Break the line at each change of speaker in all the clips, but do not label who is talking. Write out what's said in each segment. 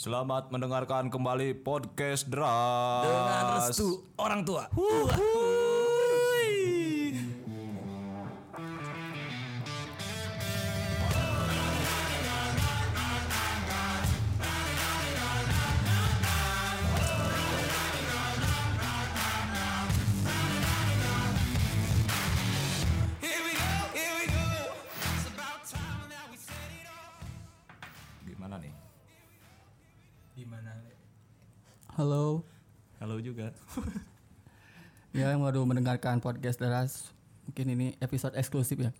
Selamat mendengarkan kembali podcast Deras.
dengan restu orang tua.
Here we go, here we go. It's about time that we said it all.
Gimana nih?
Gimana?
Halo,
Halo juga.
ya yang baru mendengarkan podcast Deras, mungkin ini episode eksklusif ya.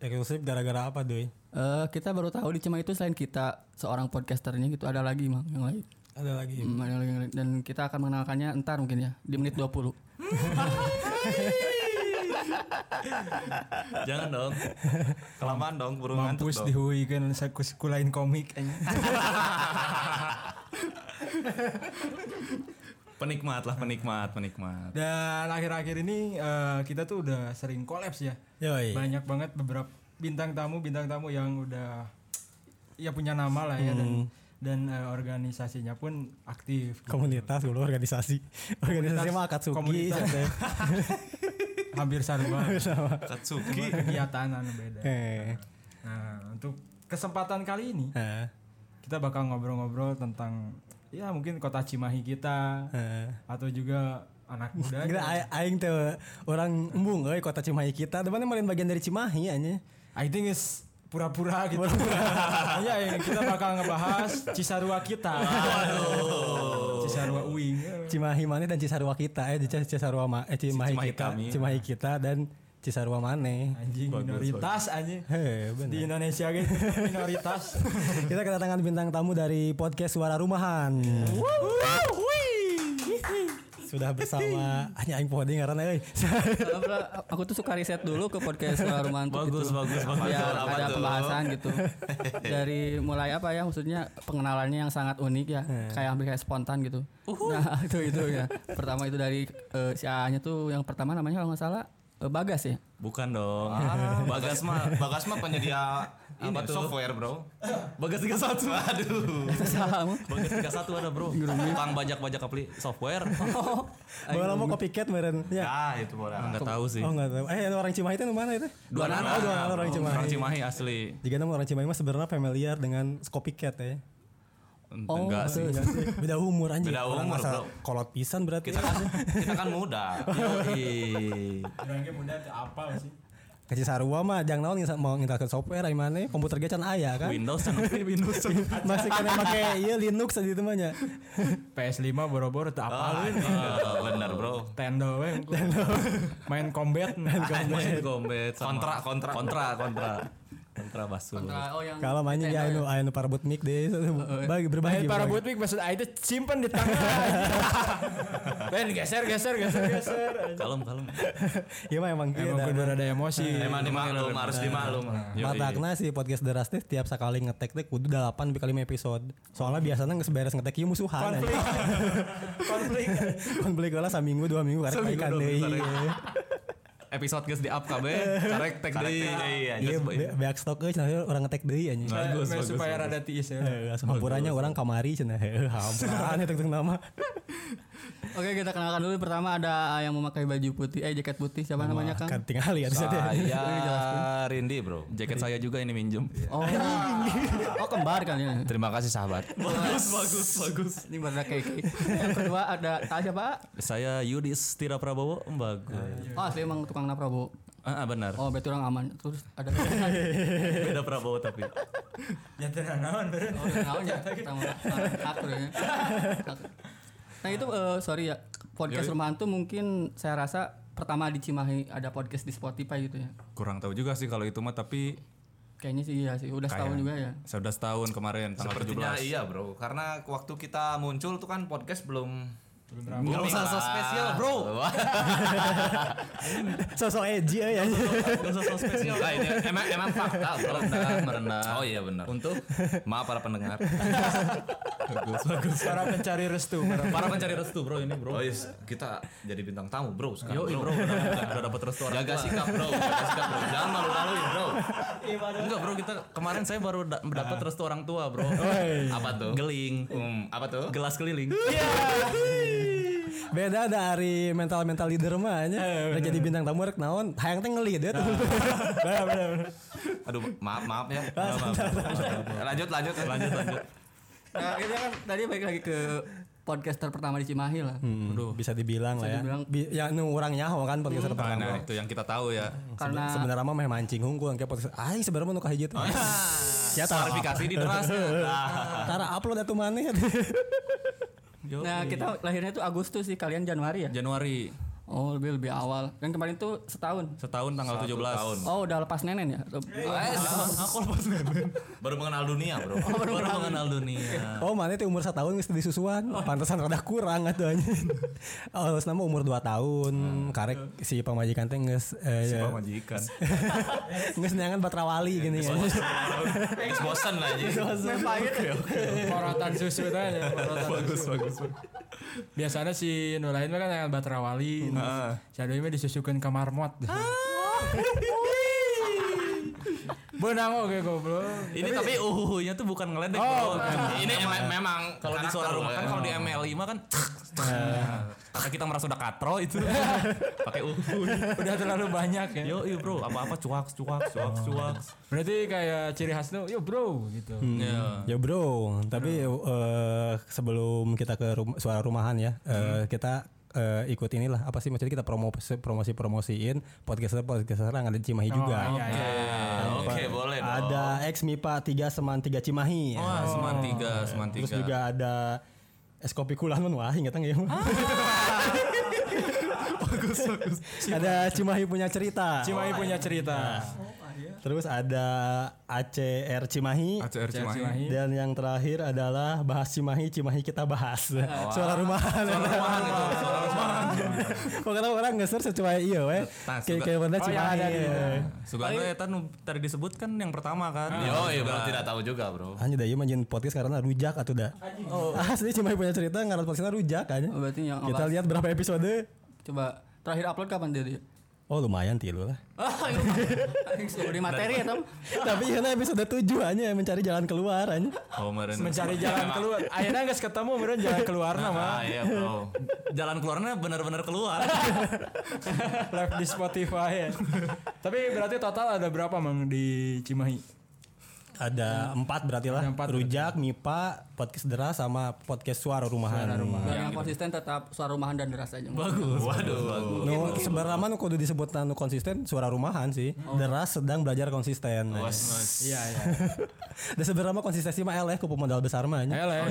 Eksklusif gara-gara apa doi?
Eh kita baru tahu di Cima itu selain kita seorang podcasternya gitu ada lagi mang yang lain.
Ada lagi.
Iya.
Hmm, ada lagi yang lain. Dan kita akan mengenalkannya entar mungkin ya di menit 20
Jangan dong. Kelamaan dong, buru ngantuk
Mampus
dong.
di Hui kan saya kus- kulain komik.
Penikmat lah, penikmat, penikmat.
Dan akhir-akhir ini eh, kita tuh udah sering kolaps ya.
Iya.
Yoi.
Banyak banget beberapa bintang tamu bintang tamu yang udah ya punya nama lah ya dan dan eh, organisasinya pun aktif.
komunitas dulu organisasi organisasi mah ya? akad sugi
Komunitas.
santai.
Hampir sama.
Katsuki.
Cuma kegiatan anu beda.
eh
Nah, untuk kesempatan kali ini
eh,
kita bakal ngobrol-ngobrol tentang ya mungkin kota Cimahi kita
eh.
atau juga anak muda
Gila, a- aing teh orang embung euy kota Cimahi kita depannya main bagian dari Cimahi anjing
I think is pura-pura gitu. Iya, ya, kita bakal ngebahas Cisarua kita. Cisarua Uing.
Cimahi mana dan Cisarua kita eh Cis- Cisarua ma eh Cimahi,
Cimahi
kita
kami.
Cimahi kita dan Cisarua mana
Anjing minoritas anjing.
Heh, bener.
Di Indonesia gitu minoritas.
kita kedatangan bintang tamu dari podcast Suara Rumahan. Sudah bersama hanya aing poding karena euy.
Aku tuh suka riset dulu ke podcast Suara Rumanto
Bagus,
gitu.
bagus, bagus.
Biar
Apa
ada
tuh?
pembahasan gitu. Dari mulai apa ya maksudnya pengenalannya yang sangat unik ya, kayak hampir kayak spontan gitu.
Uhuh.
Nah, itu itu ya. Pertama itu dari eh, si A-nya tuh yang pertama namanya kalau nggak salah eh, Bagas ya.
Bukan dong. Bagas mah, Bagas mah penyedia Ah. ini software, Bro. Bagas 31. Aduh.
Salah kamu.
Bagas 31 ada, Bro. Tukang bajak-bajak apli software.
Bawa lama copycat meren. Ya.
Ya, itu orang. Enggak tahu sih.
Oh enggak tahu. Eh orang Cimahi itu mana itu?
Dua
anak. Oh, dua anak orang Cimahi.
Orang Cimahi asli.
Jika nama orang Cimahi mah sebenarnya familiar dengan copycat ya.
Oh,
Hmm, Enggak sih.
betul.
Beda umur anjir.
Beda
Orang
umur, bro.
masa Kolot pisan berarti.
Kita
ya.
kan kita kan muda. Yoi.
Orangnya muda tuh apa sih?
Kasih sarua mah jangan naon ngisa- mau ngintalkeun software ai mana komputer ge can aya kan.
Windows kan Windows.
Masih kena make ieu Linux aja itu mah nya.
PS5 boro-boro tuh
Ah,
apa lu?
iya, bener bro.
Tendo we. Main combat. Main
Main combat sama- kontra kontra kontra kontra kontra basul.
oh yang
Kalau mah anjing ya anu anu parabut mic deh. Bagi berbagi.
para
berbagi.
Butwig maksud Aing itu simpen di tangan. Ben geser geser geser geser.
Kalem kalem.
Iya mah emang
Emang
gitu.
kudu ada emosi.
Emang dimaklum harus dimaklum. Yoi.
Matakna si podcast deras teh tiap sekali ngetek teh kudu 8 kali 5 episode. Soalnya biasanya geus beres ngetek ieu musuhan. anjing.
konflik
Konflik lah saminggu dua minggu karek
Saminggu,
baikan
dua
deui.
minggu,
Iya.
Episode guys di up KB, karek tag
Karek
deui.
teh deui, ya,
Iya,
just by-
be- beak stok euy cenah orang ngetek deui anjing.
Bagus,
Me-
bagus,
supaya rada tiis ya
Eh, langsung hampurannya orang kamari cenah. Heuh, Hampuran itu teu nama.
Oke kita kenalkan dulu pertama ada yang memakai baju putih eh jaket putih siapa namanya Kang?
Kan tinggal lihat saja.
Saya Ah, iya, Rindi bro.
Jaket saya juga ini minjem.
Iya.
Oh, oh kembar kan ya.
Terima kasih sahabat.
Bagus bagus bagus.
Ini berada keke. Yang kedua ada ah, siapa?
Saya Yudis Tira Prabowo
Eh.
Embago.
Oh asli emang tukang na Prabowo.
Ah, ah, benar.
Oh berarti orang aman. Terus ada
Beda Prabowo tapi.
ya tenang naon beren
Oh, kenal ya, pertama akur ya. Akur. Nah itu eh, sorry ya podcast rumah hantu mungkin saya rasa pertama di Cimahi ada podcast di Spotify gitu ya.
Kurang tahu juga sih kalau itu mah tapi
Kayaknya sih iya sih udah setahun juga ya.
saya udah setahun kemarin tanggal
Sepertinya
17.
iya bro. Karena waktu kita muncul tuh kan podcast belum
Enggak usah so spesial, Bro.
Sosok edgy euy anjing.
Gak usah so spesial. Nah, ini emang emang fakta bro.
Merendah, merendah.
Oh iya benar.
Untuk
Maaf para pendengar.
bagus, bagus.
para pencari restu para
Para pencari restu, Bro, ini, Bro.
Oh iya, kita jadi bintang tamu bro sekarang.
Yo, bro, udah, udah dapat restu orang
Jaga
tua.
sikap bro, jaga sikap bro. Jangan malu-maluin bro.
Iya, Enggak bro kita kemarin saya baru da- dapat restu orang tua bro.
Woi.
Apa tuh?
Geling.
Hmm. Apa tuh?
Gelas keliling.
Beda dari mental-mental leader mah nya.
Iya,
Udah jadi bintang tamu rek naon, hayang teh ngelit ya.
Nah. Aduh, maaf maaf ya.
Ah,
Maaf, maaf, maaf. Lanjut lanjut lanjut lanjut.
Nah, akhirnya kan tadi balik lagi ke podcaster pertama di Cimahi lah.
Aduh, bisa dibilang lah ya.
Bisa dibilang.
Bi- ya nu orang nyaho kan
Nah,
podcast pertama.
nah, itu yang kita tahu ya.
Karena
Sebenarnya mah meh mancing hungkul kayak podcast. Ai sebenarnya mah nu kahiji teh. Ya tara
Klarifikasi di deras. Nah.
tara upload atuh maneh.
nah kita lahirnya tuh Agustus sih kalian Januari ya.
Januari
Oh, lebih lebih awal. Kan kemarin tuh setahun.
setahun tanggal 17 tahun.
Oh, udah lepas nenen ya.
Aku lepas neben.
Baru mengenal dunia, Bro.
Baru mengenal dunia.
Oh mana teh umur setahun geus disusuan
Oh.
Pantesan rada kurang atuh anjing. Oh nama umur 2 tahun
Hmm.
Karek si pamajikan teh geus eh, ya,
majikan.
geus neangan batrawali gini ya
Terus bosan lah anjing.
Porotan susu itu aja. porotan susu. Biasanya si nu lain mah kan yang batrawali. Si Adoy mah disusukeun ke marmot. Benang oke goblok.
Ini tapi uhuhunya tuh bukan ngeledek
Oh,
bro.
Ini emang, memang
Kalau di
karakter,
suara rumah
ya.
kan kalau di ML5 kan Karena kita merasa udah katro itu pakai uhuh.
Udah terlalu banyak ya. Oh,
Yo, yo bro, apa-apa cuak cuak cuak cuak.
Berarti kayak ciri khas tuh, yo bro gitu.
Ya.
Ya bro Tapi eh, sebelum kita ke rum- suara rumahan ya eh, Kita eh, ikut inilah apa sih maksudnya kita promo promosi promosiin podcaster podcaster yang ada di Cimahi juga
iya,
Nah,
iya.
Oke, boleh dong.
ada ex Mipa 3 Seman 3 Cimahi
Wah, seman tiga, seman
Terus
tiga.
juga ada es kopi kulanun wah ingat nggak ya? bagus bagus. Ada Cimahi punya cerita. Oh, iya.
Cimahi punya cerita.
Terus ada ACR Cimahi.
ACR Cimahi.
Cimahi.
Dan yang terakhir adalah bahas Cimahi, Cimahi kita bahas. Suara rumahan. Suara rumahan itu, suara rumahan. Pokoknya orang ngeser sesuai iya weh.
Nah, suka-
Kayak kayak mana
Oh, yang
Cimahi.
ada di-
Sugando ya tadi tadi disebutkan yang pertama kan.
Yo, iya bro, tidak tahu juga, Bro.
Hanya Gitu. dah ieu mah jeung podcast karena rujak atuh dah. Oh, asli Cimahi punya cerita ngaran podcastnya rujak aja.
Oh, berarti yang
Kita
awas.
lihat berapa episode.
coba terakhir upload kapan dia?
Oh lumayan tilu lah.
Ah, di materi ya, Tom.
Tapi karena episode 7 hanya mencari jalan keluar hanya.
Oh, kemarin.
Mencari jalan keluar. Akhirnya nggak ketemu, beneran jalan keluar nama.
Ah, iya, Bro.
Jalan keluarnya benar-benar keluar.
Live di Spotify ya. Tapi berarti total ada berapa mang di Cimahi?
Ada empat berarti lah.
Ada empat
Rujak, Mipa, podcast deras sama podcast suara rumahan.
Dan yang konsisten tetap suara rumahan dan deras aja.
Bagus.
Waduh, bagus.
Nu sebenarnya mah nu kudu disebut nu konsisten suara rumahan sih. Deras sedang belajar konsisten.
Bos.
Iya, iya.
Dan sebenarnya mah konsistensi mah eleh ku pemodal besar mah. nya.
Ayo lah ya.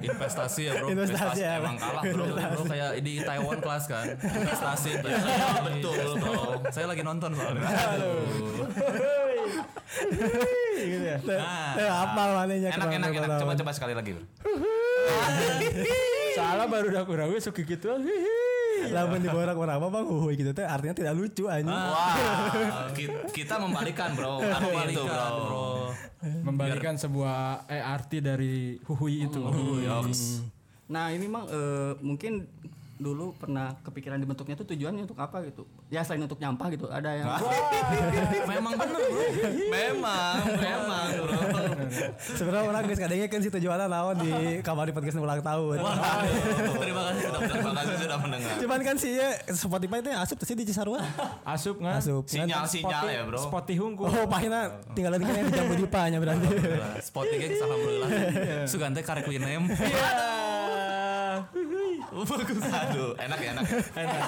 Investasi ya, Bro.
Investasi ya.
Emang kalah, Bro.
Bro kayak di Taiwan kelas kan. Investasi.
Iya, Betul, Bro.
Saya lagi nonton soalnya.
Eh, apa manehnya
Enak, enak, enak.
kenapa-
Coba coba iya, sekali lagi, Bro.
Salah baru udah kurang gue suka gitu. Hihi.
Lamun diborak orang apa bang huhuy gitu teh artinya tidak lucu aja.
Wah, ki- kita membalikan, Bro. Kan itu,
Balikan,
Bro.
Bro.
Membalikan sebuah eh, arti dari huhui itu.
Oh, Yoks.
Nah, ini mang eh, mungkin dulu pernah kepikiran dibentuknya tuh tujuannya untuk apa gitu. Ya selain untuk nyampah gitu, ada yang
Memang benar, Bro.
Memang, memang, Bro.
Sebenarnya orang guys kadangnya kan si tujuannya lawan di kamar di podcast ulang tahun.
Terima kasih sudah terima kasih sudah mendengar.
Cuman kan sih ya Spotify teh asup sih di Cisarua.
Asup nggak?
Asup.
Sinyal
Ngan-
sinyal ya, Bro.
Spotty hungku.
Oh, pahina tinggal di kene di Jambu Dipa nya berarti.
Oh, Spotify geus alhamdulillah. Sugante karek winem.
Bagus. Aduh, enak ya, enak. ya.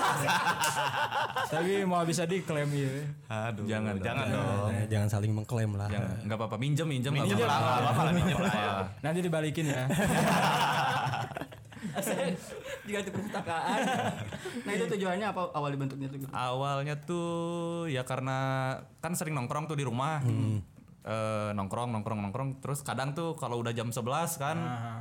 Tapi mau bisa diklaim ya.
Aduh.
Jangan,
jangan dong.
Eh, Jangan saling mengklaim lah.
Jangan, enggak apa-apa minjem minjem
Minjem
nggak
lah,
apa-apa.
nggak apa-apa lah minjem lah ya.
Nanti dibalikin ya.
diganti perpustakaan. nah, itu tujuannya apa awal dibentuknya tuh gitu.
Awalnya tuh ya karena kan sering nongkrong tuh di rumah.
Hmm.
Eh, nongkrong nongkrong nongkrong terus kadang tuh kalau udah jam 11 kan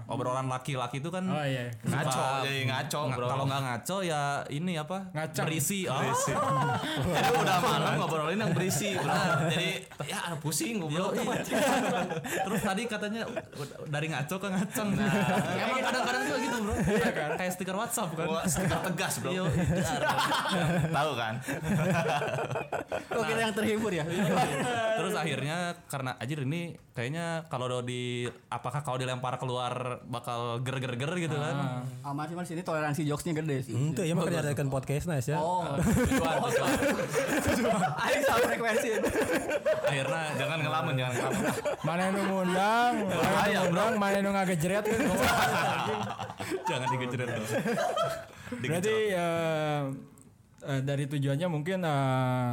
obrolan laki-laki tuh kan
Oh iya.
suka-
Ngaco, jadi ngaco,
Nga-
bro.
kalau nggak ngaco ya ini apa
Ngacang.
berisi oh.
Jadi udah malam ngobrolin yang berisi, Bro. Jadi ya pusing gue, Bro.
terus tadi katanya u- dari ngaco ke ngacang nah, emang kadang-kadang tuh gitu bro
Iya
kayak stiker WhatsApp kan
Gua stiker tegas, Bro.
Yo, iya.
Tahu kan?
Kok kita yang terhibur ya?
Terus akhirnya karena anjir ini kayaknya kalau di apakah kalau dilempar keluar bakal ger-ger-ger gitu kan.
Ah.
Aman sih Mas, Ah, ini toleransi jokesnya gede sih.
Itu ya makanya ada podcast nice ya.
Oh,
Tujuan, tujuan.
aing sama frekuensi.
Akhirnya jangan ngelamun jangan ngelamun.
Mana yang ngundang, mana
Bahaya,
yang
bro.
ngundang, mana yang ngegejret kan.
jangan digejret dong.
Berarti eh, eh, dari tujuannya mungkin eh,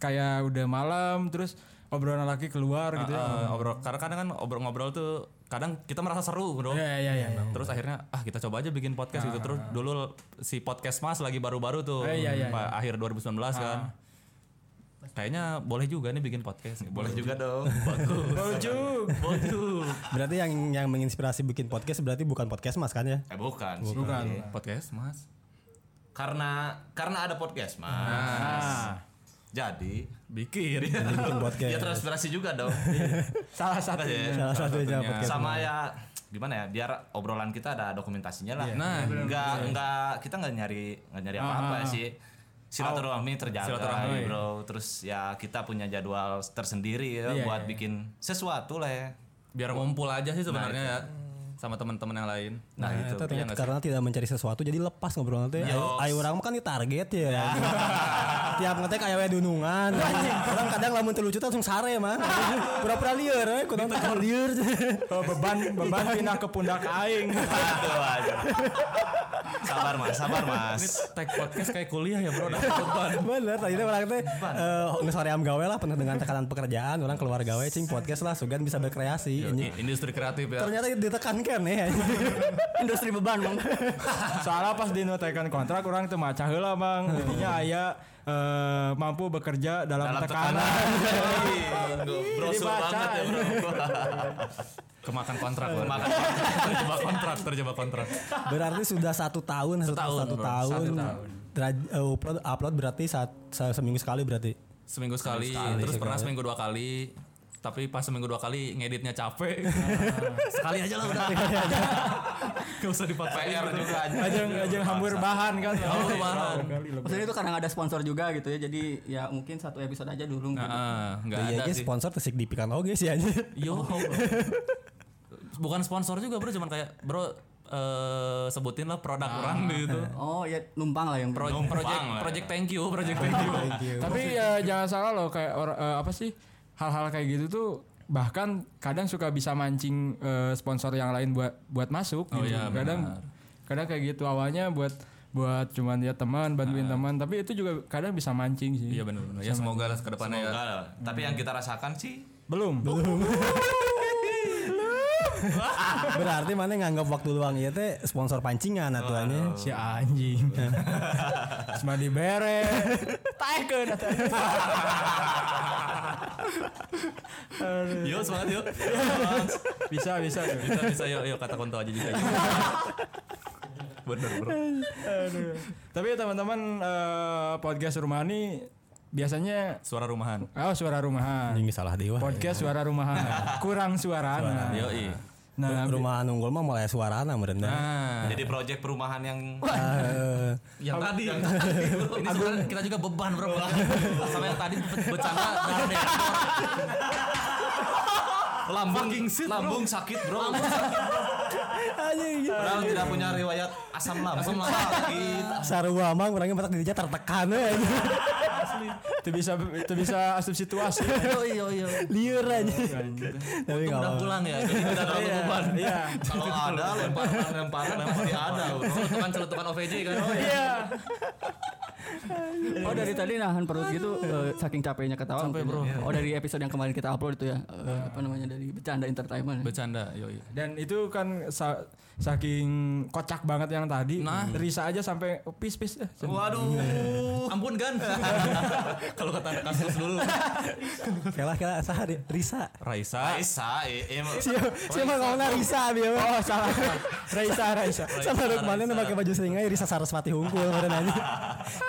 kayak udah malam terus obrolan laki keluar gitu
Eh,
ya.
obrol karena kadang kan obrol ngobrol tuh kadang kita merasa seru bro
Iya iya iya.
terus akhirnya ah kita coba aja bikin podcast gitu terus dulu si podcast mas lagi baru-baru tuh
Eh, iya, Ah. iya,
Pak, akhir 2019 kan kayaknya boleh juga nih bikin podcast
Boleh juga dong.
Bojuk.
Waduh.
Berarti yang yang menginspirasi bikin podcast berarti bukan podcast mas kan ya?
Eh bukan. sih.
Bukan.
podcast mas
Karena karena ada podcast mas.
Ah.
Jadi
bikin
Bikin
ya
podcast.
transpirasi juga dong.
Salah satu.
Iya.
Salah satunya podcast.
sama ya gimana ya biar obrolan kita ada dokumentasinya lah.
Nah,
nggak nggak kita nggak nyari nggak nyari apa-apa sih. Silaturahmi terjaga,
Silaturahmi.
bro. Terus ya kita punya jadwal tersendiri ya,
Iya,
buat
iya,
bikin sesuatu lah ya.
biar ngumpul aja sih sebenarnya ya sama teman-teman yang lain
Nah,
Nah,
itu.
itu ternyata
nggak
karena tidak mencari sesuatu jadi lepas ngobrol nanti. Ayo, ayo orang mah kan di target ya. Tiap ngetek aya we dunungan. orang kadang lamun 3 juta langsung sare mah. Pura-pura lieur we, kudu pura lieur.
Oh, beban beban pindah ke pundak aing.
Aduh, aduh. sabar mas, sabar mas.
tag podcast kayak kuliah ya bro Beban.
Bener, tadi teh orang teh eh, ngesoream gawe lah penuh dengan tekanan pekerjaan, orang keluar gawe cing podcast lah sugan bisa berkreasi.
I-
Ini-
industri kreatif ya
Ternyata ditekankan ya.
Industri beban, Bang.
Soalnya pas di notekan kontrak orang teu maca heula Bang. Intinya aya eh, mampu bekerja dalam,
Dalam
tekanan.
tekanan. Brosur
Dibaca.
banget ya bro.
kemakan kontrak bro. terjebak kontrak terjebak kontrak
Berarti sudah satu tahun, satu,
Setahun,
satu
bro.
tahun.
Satu tahun.
Dra- eh, upload, upload berarti saat, se- seminggu sekali berarti.
seminggu sekali, terus pernah seminggu dua kali tapi pas seminggu dua kali ngeditnya capek sekali aja lah udah gak usah dipakai gitu.
PR juga aja.
Ajeng ajeng hambur bahan kan.
Hambur bahan.
Maksudnya itu kadang ada sponsor juga gitu ya. Jadi ya mungkin satu episode aja dulu. gitu.
Nah, eh, nggak
Iya,
ada
iya,
sih
sponsor tersignifikan oke sih aja.
yo bukan sponsor juga bro cuman kayak bro eh, sebutin lah produk orang gitu
Oh ya numpang lah yang
Pro-
Numpang
project
lah ya.
project thank you project thank you
Tapi ya jangan salah loh kayak or- eh, apa sih hal-hal kayak gitu tuh bahkan kadang suka bisa mancing eh, sponsor yang lain buat buat masuk
Oh
gitu.
iya,
kadang kadang kayak gitu awalnya buat buat cuman ya teman bantuin teman tapi itu juga kadang bisa mancing sih.
iya benar benar ya semoga lah ke depannya ya
Enggak lah. Tapi yang kita rasakan sih
Belum.
Berarti mana nganggap waktu luang ieu teh sponsor pancingan aturannya.
Si anjing. Cuma dibere. Taekeun atuh.
yo semangat yo
Bisa bisa. tuh.
bisa bisa yo yo kata konto aja juga bener bro
Aduh. Tapi ya teman-teman eh, podcast rumah ini biasanya
suara rumahan
oh suara rumahan.
Ini salah dewa.
podcast suara rumahan kurang suara nah,
yo i
nah
Rumah nunggul mah mulai suarana merendah.
nah
jadi proyek perumahan yang
Eh,
yang tadi yang tadi ini sebenarnya kita juga beban bro sama yang tadi be- bercanda darah deh
lambung lambung sakit bro.
iya.
Padahal tidak punya riwayat asam lambung sakit.
Sarua mah kurangnya batak dirinya tertekan we, anjing.
itu bisa itu bisa asup situasi
Oh iya iya.
Liur aja. Tapi enggak
udah
apa-apa.
pulang ya jadi tidak terlalu beban
iya
Kalau ada lemparan lemparan pasti ada bro.
celutukan celutukan OVJ kan
iya
Oh dari tadi nahan perut gitu eh, saking capeknya ketawa.
Capek,
mungkin ya.
bro. Iya.
Oh dari episode yang kemarin kita upload itu ya. eh, apa namanya dari bercanda entertainment.
bercanda yo i
dan itu kan sa- saking kocak banget yang tadi
Nah.
Risa aja sampai pis pis Eh,
waduh ampun gan kalau kata anak kasus dulu
Kalah kalah sahari Risa.
Raisa Nah,
Raisa, eh, emang
Oh,
Siapa siapa ngomongna Risa bieu. Oh salah.
Raisa Raisa
Sama Rukmanin nu pakai baju seringai Risa Saraswati hungkul meren anjing.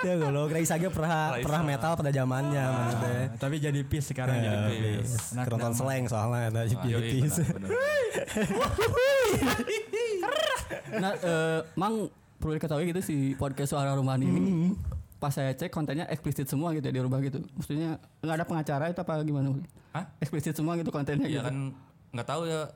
Ya golok Risa ge pernah pernah metal pada zamannya gitu ya. mana teh.
Nah, tapi jadi pis sekarang jadi
Iya.
pis Enak
Keronton
dah.
seleng soalnya ada
yo i
beauties.
Hmm.
Nah, eh, mang perlu diketahui gitu si podcast suara rumahan ini pas saya cek kontennya eksplisit semua gitu ya dirubah gitu maksudnya nggak ada pengacara itu apa gimana
Hah?
eksplisit semua gitu kontennya
ya
gitu
kan nggak tahu ya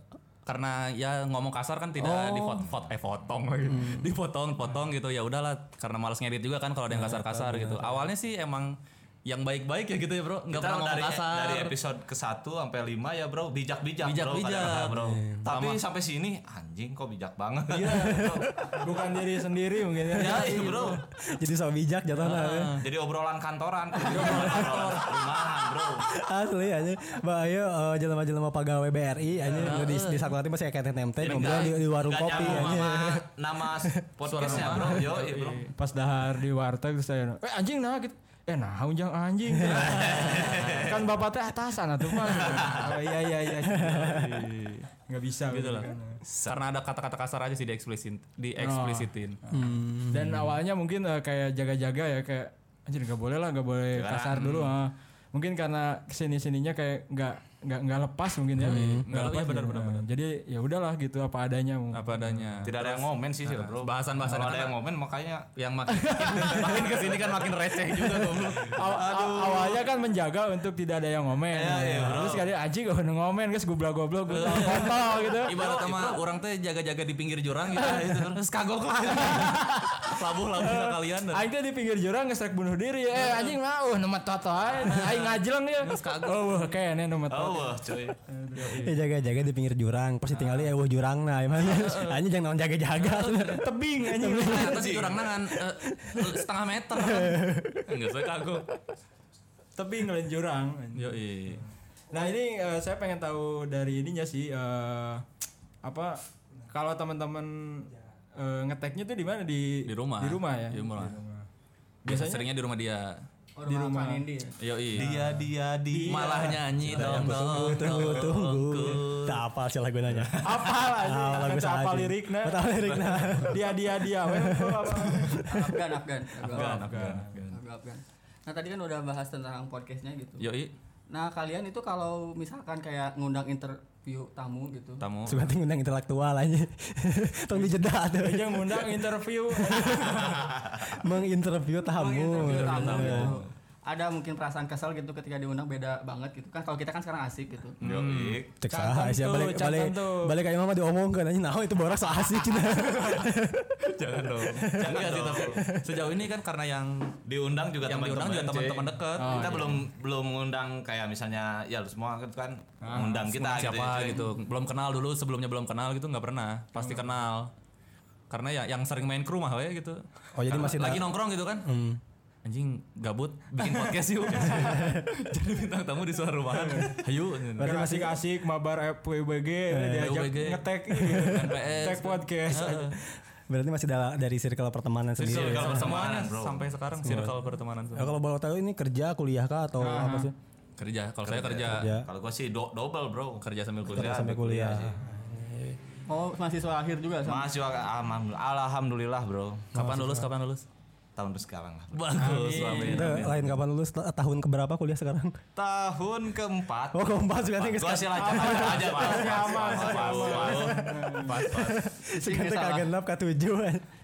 karena ya ngomong kasar kan tidak dipotong eh potong lagi dipotong potong gitu ya udahlah karena malas ngedit juga kan kalau ada yang kasar-kasar gitu awalnya sih emang yang baik-baik ya gitu ya bro nggak
Kita
pernah ngomong
dari,
kasar
dari episode ke 1 sampai 5 ya bro bijak-bijak bro
Bijak-bijak.
kata-kata, bro.
Iya.
Tapi sampai sini anjing kok bijak banget.
Bukan diri sendiri mungkin ya.
ya iya, bro.
Jadi so bijak ya. jatuh
Jadi obrolan kantoran, obrolan kantor, rumahan bro.
Asli aja. Mbak ayo eh, jelema-jelema pegawai BRI aja di di Saklarti masih kayak TNMT ngobrol di, di warung
Nggak
kopi ya.
nyambung
ya.
aja.
sama Nama podcastnya bro, yo iya, bro.
Pas dahar di warteg terus saya, eh anjing nah gitu. Eh nah unjang anjing. kan bapak teh atasan atuh mah. Oh, iya iya iya. Enggak bisa kan.
gitu lah karena ada kata-kata kasar aja sih dieksplisit dieksplisitin
Oh. Dan awalnya mungkin eh, kayak jaga-jaga ya kayak anjir nggak boleh lah nggak boleh kasar dulu ah. Mungkin karena kesini sininya kayak nggak nggak nggak lepas mungkin ya. Nggak
Nggak,
lepas.
iya, benar,
gitu.
benar, benar.
Jadi ya udahlah gitu apa adanya. mungkin.
apa adanya Nah,
Tidak ada yang ngomen sih sih bro.
bahasan-bahasan
Kalau ada
karena-
yang ngomen makanya
yang makin makin kesini kan makin receh juga goblok.
Aw- aw- awalnya kan menjaga untuk tidak ada yang ngomen. Terus kali anjing gak ngomen guys goblok-goblok gue kontol gitu.
ibarat sama orang teh jaga-jaga di pinggir jurang gitu
Iya,
terus kagok lah labuh labuh kalian
Aing teh di pinggir jurang ngesrek bunuh diri. Eh anjing mah uh nemet toto aing. Aing ngajleng ya. Oh wah kayaknya nemet toto.
oh wah, cuy.
Ya jaga-jaga di pinggir jurang. Pasti tinggal ya wah jurang nah emang. Anjing jangan naon jaga-jaga.
Tebing anjing.
ternyata si jurang nangan eh, setengah meter kan. enggak saya kagok
Tebing lain jurang.
yo
Nah ini eh, saya pengen tahu dari ininya sih eh, apa kalau teman-teman eh, ngeteknya tuh di mana di
di rumah
Di rumah ya.
di rumah biasa
Biasanya
seringnya di rumah dia
di Oh, rumah Nindi ya?
yo
Dia dia dia.
malah nyanyi dong dong
Tunggu tunggu. Tak apa sih lagu nanya.
apa lah
Ah, lagu
sih? Apa
saat ini.
liriknya?
Apa liriknya?
Dia dia dia. Weh, kok apa?
Afgan Afgan Afgan
Afgan
Afgan, Afgan. nah tadi kan udah bahas tentang podcastnya gitu
yo
nah kalian itu kalau misalkan kayak ngundang interview tamu gitu
tamu
Sebenarnya ngundang intelektual aja. Tong dijeda tuh.
Yang ngundang interview
Menginterview tamu.
Interview tamu gitu. ada mungkin perasaan kesel gitu ketika diundang beda banget gitu kan kalau kita kan sekarang asik gitu
Yo, iya.
Cek saha
Catem
sih
tuh,
balik
catem
balik
tuh.
balik kayak mama diomongkeun anjing naon itu borak saha sih cina.
Jangan dong. Jangan
Enggak sih
dong.
tapi sejauh ini kan karena yang
diundang juga
yang diundang juga
cuy.
teman-teman Oh, iya. dekat
kita belum belum ngundang kayak misalnya ya lu semua kan- kan ngundang kita
Ah, Ngundang
gitu,
siapa
ya, cuy.
gitu, belum kenal dulu sebelumnya belum kenal gitu nggak pernah pasti kenal karena ya yang sering main ke rumah ya gitu
Oh, jadi
Karena
masih
lagi
da-
nongkrong gitu kan anjing gabut bikin podcast yuk jadi bintang tamu di suara rumahan ayo
Berarti masih Eh, asik mabar FWBG diajak
FWBG.
Ya, ngetek
NPS.
ngetek podcast.
Berarti masih dala- dari circle pertemanan sendiri.
Circle
ya?
pertemanan
pertemanan bro.
sampai sekarang circle pertemanan
Ya, kalau boleh tahu ini kerja kuliah kah atau apa sih?
kerja kalau saya kerja
Kerja.
Kalau gua sih do- double bro.
kerja sambil
Kerja
kuliah
sampai kuliah.
oh mahasiswa akhir juga sama
Masih alhamdulillah, alhamdulillah bro.
kapan lulus kapan lulus
Tahun sekarang lah.
bagus
Itu
Iya,
lain kapan lulus Ta- tahun keberapa kuliah sekarang?
Tahun keempat.
Oh keempat sebenarnya
Gua
sekarang
sih lancar aja pas pas pas pas pas pas
Sing,
sekarang teh
Iya, salah.
kagen lap ketujuh.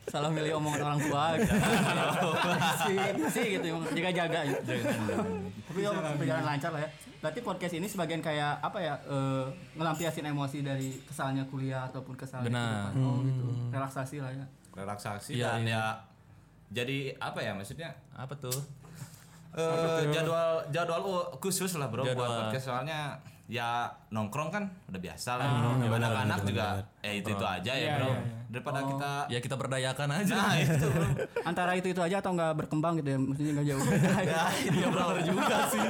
salah milih omongan orang tua gitu. sih, sih gitu jaga jaga tapi ya berjalan lancar lah ya berarti podcast ini sebagian kayak apa ya eh, ngelampiasin emosi dari kesalnya kuliah ataupun kesalnya
Benar.
kehidupan. oh, gitu relaksasi lah ya
relaksasi
Iya,
dan
iya.
ya jadi apa ya maksudnya
apa tuh
Eh, jadwal jadwal u- khusus lah bro buat
Jadwal.
podcast soalnya ya nongkrong kan udah biasa lah anak-anak juga eh itu itu aja ya bro daripada kita
ya kita berdayakan aja
nah itu bro
antara itu itu aja atau nggak berkembang gitu ya maksudnya nggak jauh
ya
Iya,
itu bro juga sih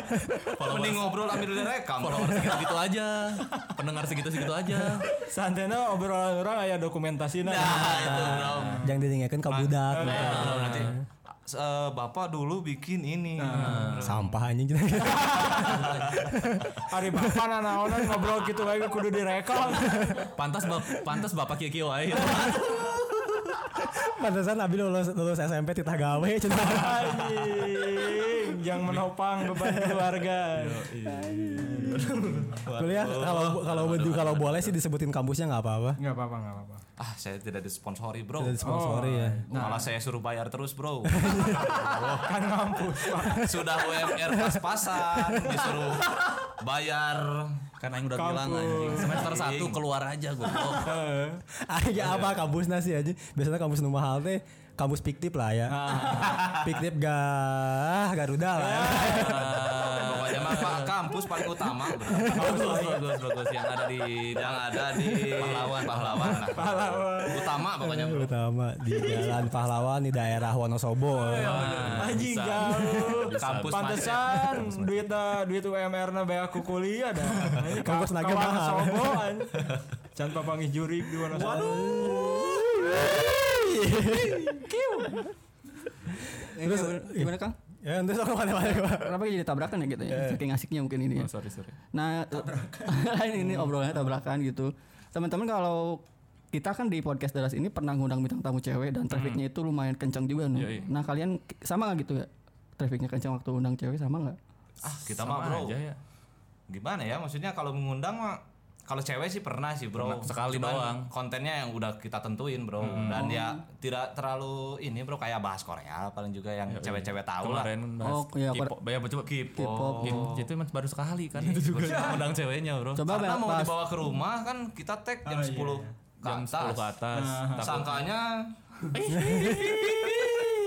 mending ngobrol ambil dari rekam bro
Followers segitu gitu aja pendengar segitu segitu aja
Santena obrolan orang aya dokumentasi
nah itu bro
Jangan didengarkan ke budak.
Nah, nanti eh, bapak dulu bikin ini
Nah. Sampah anjing cina.
Hari bapak nanaonan ngobrol gitu lagi kudu direkam.
pantas bap pantas bapak kikio aja
Pantesan Abi lulus, lulus SMP titah gawe cenah.
Anjing, jangan menopang beban keluarga.
Kuliah kalau kalau kalau boleh sih disebutin kampusnya nggak apa-apa.
Enggak apa-apa, enggak apa-apa.
Ah, saya tidak disponsori, Bro.
Jadi Sponsori ya.
Malah saya suruh bayar terus, Bro.
Kan ngampus. Pak.
Sudah UMR pas-pasan, disuruh bayar. Kan aing udah bilang anjing, semester
Iya,
Iya,
1 keluar aja goblok.
Aja Ah, iya, apa kampus nasi aja. Biasanya kampus nu mahal teh kampus fiktif lah ya. Fiktif gah Garuda lah. ya.
Eh, Pokoknya mah Pak, kampus paling utama, Bro. Bagus, bagus, bagus yang ada di
yang ada di
pahlawan, pahlawan. Nah, Utama pokoknya, Bro.
Terutama di Jalan Pahlawan di daerah Wonosobo.
Anjing
bisa.
jauh.
Bisa,
Kampus
bisa.
Pantesan duit dah, duit UMR na bea ku kuliah dah. Anjing,
Kampus
ka-
naga
kawan
mahal.
soboan. Can papangih jurik di mana Waduh.
Terus gimana Kang?
Ya terus aku mana-mana.
Kenapa jadi tabrakan ya gitu ya? Saking asiknya mungkin ini ya.
Oh, Sorry, sorry.
Nah, ini, ini obrolannya tabrakan gitu. Teman-teman kalau kita kan di podcast Deras ini pernah ngundang bintang tamu cewek dan trafficnya itu lumayan kencang juga nih.
Yoi.
Nah, kalian k- sama nggak gitu ya? Trafficnya kencang waktu undang cewek sama nggak?
ah kita mah
Sama
bro
aja ya.
gimana ya maksudnya kalau mengundang mah kalau cewek sih pernah sih bro
Pernah, sekali doang. Hmm.
kontennya yang udah kita tentuin bro dan ya tidak terlalu ini bro kayak bahas Korea paling juga yang cewek-cewek tahu lah
Kemarin bahas
Oh, iya,
K-pop. Ya, coba
K-pop. Iya,
K-pop. Iya, Itu emang baru sekali kan. Itu juga undang ceweknya, Bro.
Coba
karena mau
bahas Oh, iya.
dibawa ke rumah kan kita tag jam 10 ke
jam 10 ke
atas
Ah.
atas.
Nah,
Takut-
sangkanya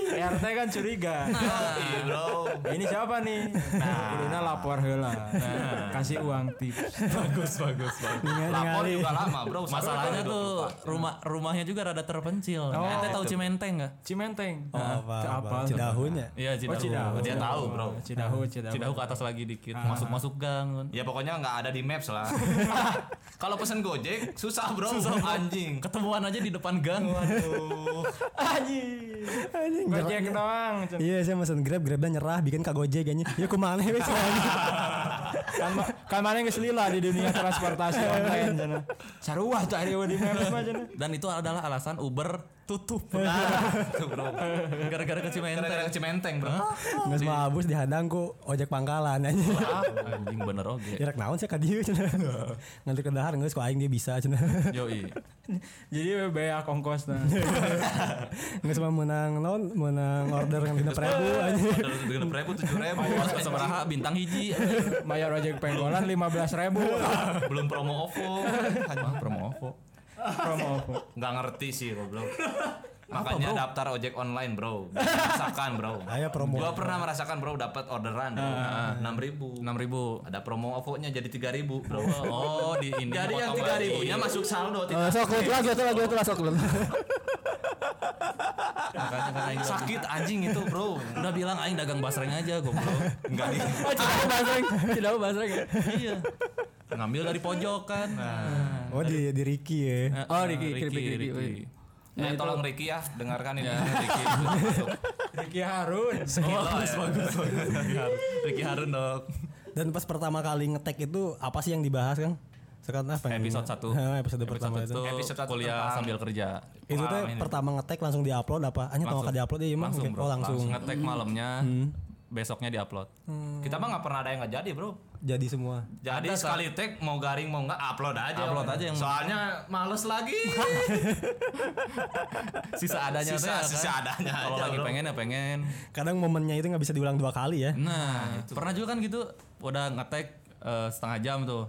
RT kan curiga.
Nah. "Ih, bro
Ini siapa nih? Nah, kuduna lapor heula. Kasih uang tips.
bagus bagus bagus.
lapor juga lama bro
Masalahnya
Satu kali
tuh
24.
rumah rumahnya juga rada terpencil. Oh, Ente tahu Cimenteng enggak?
Cimenteng.
Oh, apa?
Ke
apa? Cidahunya.
Iya, Cidahu.
Oh, Cidahu.
Dia tahu, Bro.
Nah, Cidahu, Cidahu.
Cidahu ke atas lagi dikit,
Ah.
masuk-masuk gang.
Ya
Iya.
pokoknya nggak ada di maps lah. Kalau pesen Gojek susah bro, anjing.
Ketemuan aja di depan gang.
Anjing.
Anjing.
Gojek
jaraknya-
doang. Cen.
Iya saya mesen Grab, Grab dan nyerah bikin ka Gojek anjing. Ya kumaha we
kan ma- kan mana geus lila di dunia transportasi online cenah. Sarua tuh ari di Maps mah cenah.
Dan itu adalah alasan Uber tutup.
Ah,
Tuh, bro.
Gara-gara
Gara-gara
ke Cimenteng.
ke Cimenteng bro.
Nggak
Iya.
semua abus dihadang ku ojek pangkalan anjing.
Ah, anjing bener oge.
Ya.
Jarak naon sih ka dieu cenah. Nganti ke dahar geus ku aing dia bisa cenah.
Yoi.
Jadi bea kongkos nah.
Geus mah menang naon menang order ngan dina prebu anjing.
Terus dengan prebu tujuh ribu.
Bos Semeraha bintang hiji.
Bayar ojek penggolan 15 ribu
Belum promo OVO.
Wah, promo OVO.
promo OVO.
Nggak ngerti sih goblok. Makanya daftar ojek online bro. Merasakan bro.
Aya promo.
Gua pernah merasakan bro dapat orderan
Ah,
bro. Enam ribu.
6000.
Ada promo OVO-nya jadi tiga ribu bro.
Oh, di ini.
Jadi yang
potong
tiga
lagi.
ribunya masuk saldo.
Eh,
tidak-
sok lu lah, gitu lah, gitu lah, sok lu.
Makanya kan aing udah-
Sakit anjing itu bro.
udah bilang aing dagang basreng aja goblok.
Enggak di.
Oh, Cidahu Basreng, Cidahu Basreng ya?
iya. Ngambil dari pojok kan.
Nah.
Nah,
Oh di di Ricky ya.
Oh, Ricky,
Ricky,
Ricky, Ricky,
Ricky.
Ricky.
Ya, tolong Ricky ya dengarkan ini.
Ya, Ricky. Masuk.
Ricky Harun.
iya.
Oh, bagus, bagus, bagus. Ricky Harun. Ricky Harun dok.
Dan pas pertama kali ngetek itu apa sih yang dibahas kan? Sekarang apa? yang-
Episode satu.
Hah, episode
Episode
pertama itu.
itu
Episode satu
kuliah
tentang-
sambil kerja.
Itu teh pertama ngetek langsung diupload apa? Hanya tahu kada upload ya emang.
langsung,
Oh langsung.
ngetek malamnya. Besoknya diupload.
Hmm. Kita mah nggak pernah ada yang nggak jadi bro.
Jadi semua.
Jadi sekali tag mau garing mau nggak upload aja.
Upload aja yang-
Soalnya males lagi.
Sisa adanya
Sisa-
teh, kan?
sisa adanya
Kalau
aja,
lagi
bro.
pengen ya pengen.
Kadang momennya itu nggak bisa diulang dua kali ya.
Nah, pernah juga kan gitu udah ngetek eh, setengah jam tuh.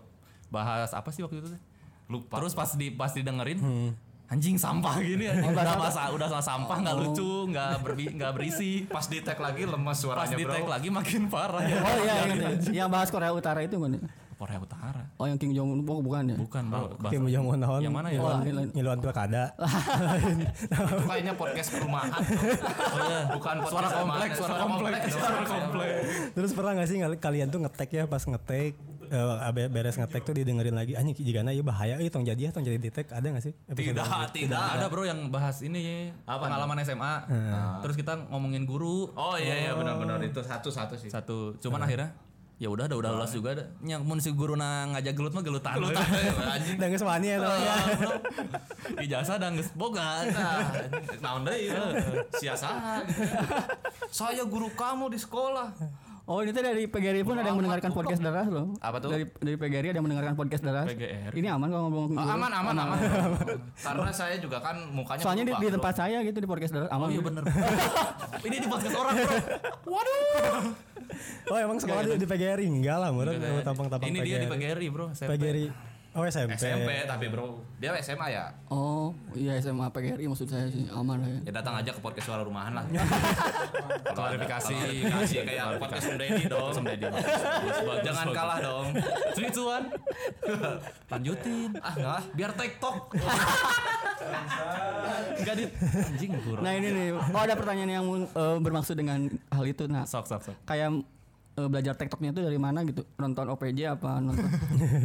Bahas apa sih waktu itu teh?
Lupa.
Terus pas di pas didengerin
Hmm.
anjing sampah gini
Oh,
anjing. udah masa udah sama sampah nggak lucu, nggak berbi nggak berisi.
pas di tag lagi lemes
Pas
suaranya
di
bro.
tag lagi makin parah ya.
Oh iya, ingat, ingat. yang bahas Korea Utara itu kan?
Korea Utara.
Oh, yang Kim Jong Un, oh, bukan ya?
Bukan, Bro. Bahasa-
Kim Jong Un naon?
Yang mana ya?
Wah, ini-
Ngiluan pilkada.
Itu kayaknya podcast perumahan. bro. Bukan podcast
Oh, iya. Suara
perumahan,
kompleks, suara kompleks, suara kompleks.
Terus pernah nggak sih ngal- kalian tuh ngetek ya pas ngetek eh, abe- beres ngetek tuh didengerin lagi anjing jigana ya bahaya eh tong jadi ya tong jadi detek ada nggak sih? episode
Tidak,
yang-
tidak.
Ada bro yang bahas ini pengalaman SMA. Nah, Terus kita ngomongin guru
Oh iya iya benar-benar itu Oh, iya. satu-satu sih.
satu. Cuman akhirnya ya udah udah udah lolos juga ada. Yang mun si guruna ngajak gelut mah gelutan. Iya,
Gelutan, eh, anjing.
Dan kesempatan ya. tau.
Ijazah dan geus boga.
Nah, Naon deui ya. Siasa gitu. Saya guru kamu di sekolah.
Oh ini tuh dari PGRI pun ada yang mendengarkan podcast daras loh.
Apa tuh?
Dari dari PGRI ada yang mendengarkan podcast daras.
PGRI.
Ini aman kalau
Oh,
ngomong
aman, aman, aman. Karena saya juga kan mukanya
Soalnya di,
berubah,
di
bro.
tempat saya gitu di podcast daras aman.
Oh iya bener. Ini di podcast orang bro.
Oh emang sekolah di, di PGRI enggak lah, murah tampang-tampang
Ini
PGRI.
dia di PGRI bro. SMP.
PGRI. Oh SMP.
Iya.
SMP tapi bro. Dia SMA ya.
Oh iya SMA PGRI maksud saya sih aman lah ya.
Ya datang aja ke podcast suara rumahan lah.
Klarifikasi.
Klarifikasi kayak podcast Om Deddy dong. Om Deddy. Jangan kalah dong.
Three, two, one. Lanjutin.
Ah, enggak lah. biar TikTok.
Enggak di anjing guru.
Nah ini nih, oh ada pertanyaan yang eh, bermaksud dengan hal itu. Nah
Sok sok sok.
kayak eh, belajar tektoknya itu dari mana gitu? Nonton OPJ apa nonton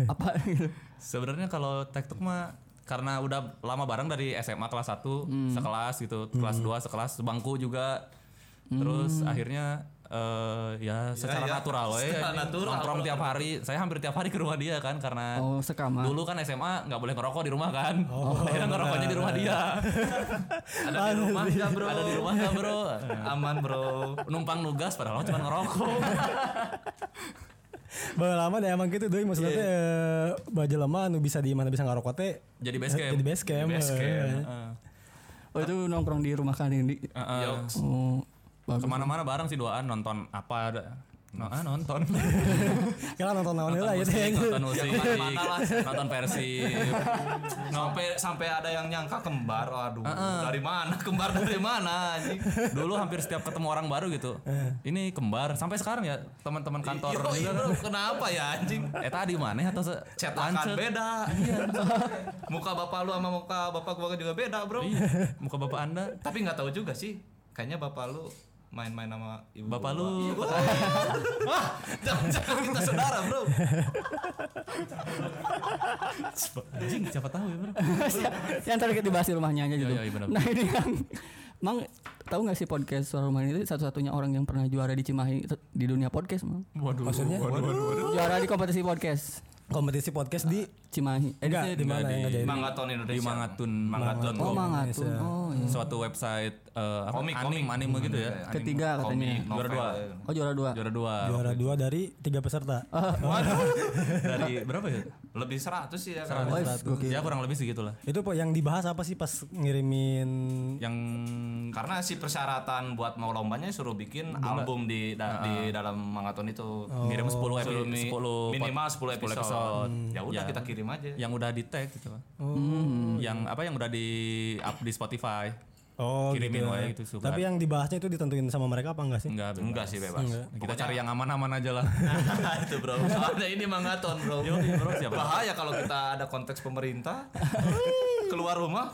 apa gitu?
Sebenarnya kalau TikTok mah karena udah lama bareng dari SMA kelas 1
Hmm.
sekelas gitu, kelas 2 sekelas bangku juga. Terus akhirnya eh, ya secara
Hmm. ya.
natural we,
Secara natural.
nongkrong tiap hari. Saya hampir tiap hari ke rumah dia kan karena
Oh sekamat.
Dulu kan SMA nggak boleh ngerokok di rumah kan. Akhirnya ngerokoknya di rumah dia.
Ada di rumah enggak, Bro?
Ada di rumah nggak bro?
Aman, Bro.
Numpang nugas padahal cuma ngerokok.
Bawa lama deh emang gitu doi maksudnya
Iya.
teh eh, baju lama anu bisa di mana bisa ngarokot teh.
Jadi base camp.
Jadi base camp.
Base camp.
eh.
Heeh.
Oh itu nongkrong di rumah kalian di.
Heeh.
Yoks.
Oh bagus.
Kemana-mana bareng sih doaan nonton apa ada. No, ah, nonton.
Ya lah nonton naon lah ya
musik,
teh.
nonton musik,
Ya, kemana-mana lah.
nonton versi.
sampai sampai ada yang nyangka kembar
Eh,
aduh dari mana kembar dari mana anjing
Dulu hampir setiap ketemu orang baru gitu. Ini kembar sampai sekarang ya teman-teman kantor
Iya, Yoi,
juga.
bro, kenapa ya anjing
Eh tadi mana atau se-
cetakan
lancet. Iya.
beda muka bapak lu sama muka bapak gua juga beda bro
Iya, muka bapak Anda.
tapi nggak tahu juga sih kayaknya bapak lu main-main sama ibu
Bapak
gua.
lu.
Iya, gua- Wah, jangan-jangan kita saudara bro
Anjing, siapa tahu ya, Bro.
yang tadi kita dibahas di rumahnya aja gitu.
iya, benar.
nah ini yang Mang tahu nggak sih podcast suara rumah ini satu-satunya orang yang pernah juara di Cimahi te- di dunia podcast mang
Waduh.
Maksudnya
juara di kompetisi podcast
kompetisi podcast di
Cimahi eh,
enggak di
Nah,
mana ya,
di-
yang ngajain.
mangaton
Di
Indonesia
Mangatun, Mangatun.
oh
Kom.
mangatun oh iya
Suatu website eh, apa?
Komik,
anime,
komik. Hmm,
anime gitu ya. Anime.
ketiga katanya
komik
Juara dua.
novel
oh juara dua
Juara dua.
Juara dua dari tiga peserta.
Dari berapa ya?
lebih 100 sih ya
Oh,
kalau-
gokil.
Ya kurang lebih segitulah.
Itu po- yang dibahas apa sih pas ngirimin
Yang
karena si persyaratan buat mau lombanya suruh bikin album di da- di dalam mangaton itu
Oh. ngirim 10 epi-
Suruh mi-
10 pot-
minimal 10 episode,
episode.
ya udah
Ya.
kita kirim aja
yang udah di tag gitu lah.
Oh.
Yang apa yang udah di up di Spotify.
Oh,
Kirimin
gitu.
ya.
wae gitu, surat.
Tapi yang dibahasnya itu ditentuin sama mereka apa enggak sih?
Enggak, bebas.
enggak sih bebas
Kita cari yang aman-aman aja lah.
itu bro soalnya ini mangaton bro
Yoi, bro, siapa?
bahaya kalau kita ada konteks pemerintah keluar rumah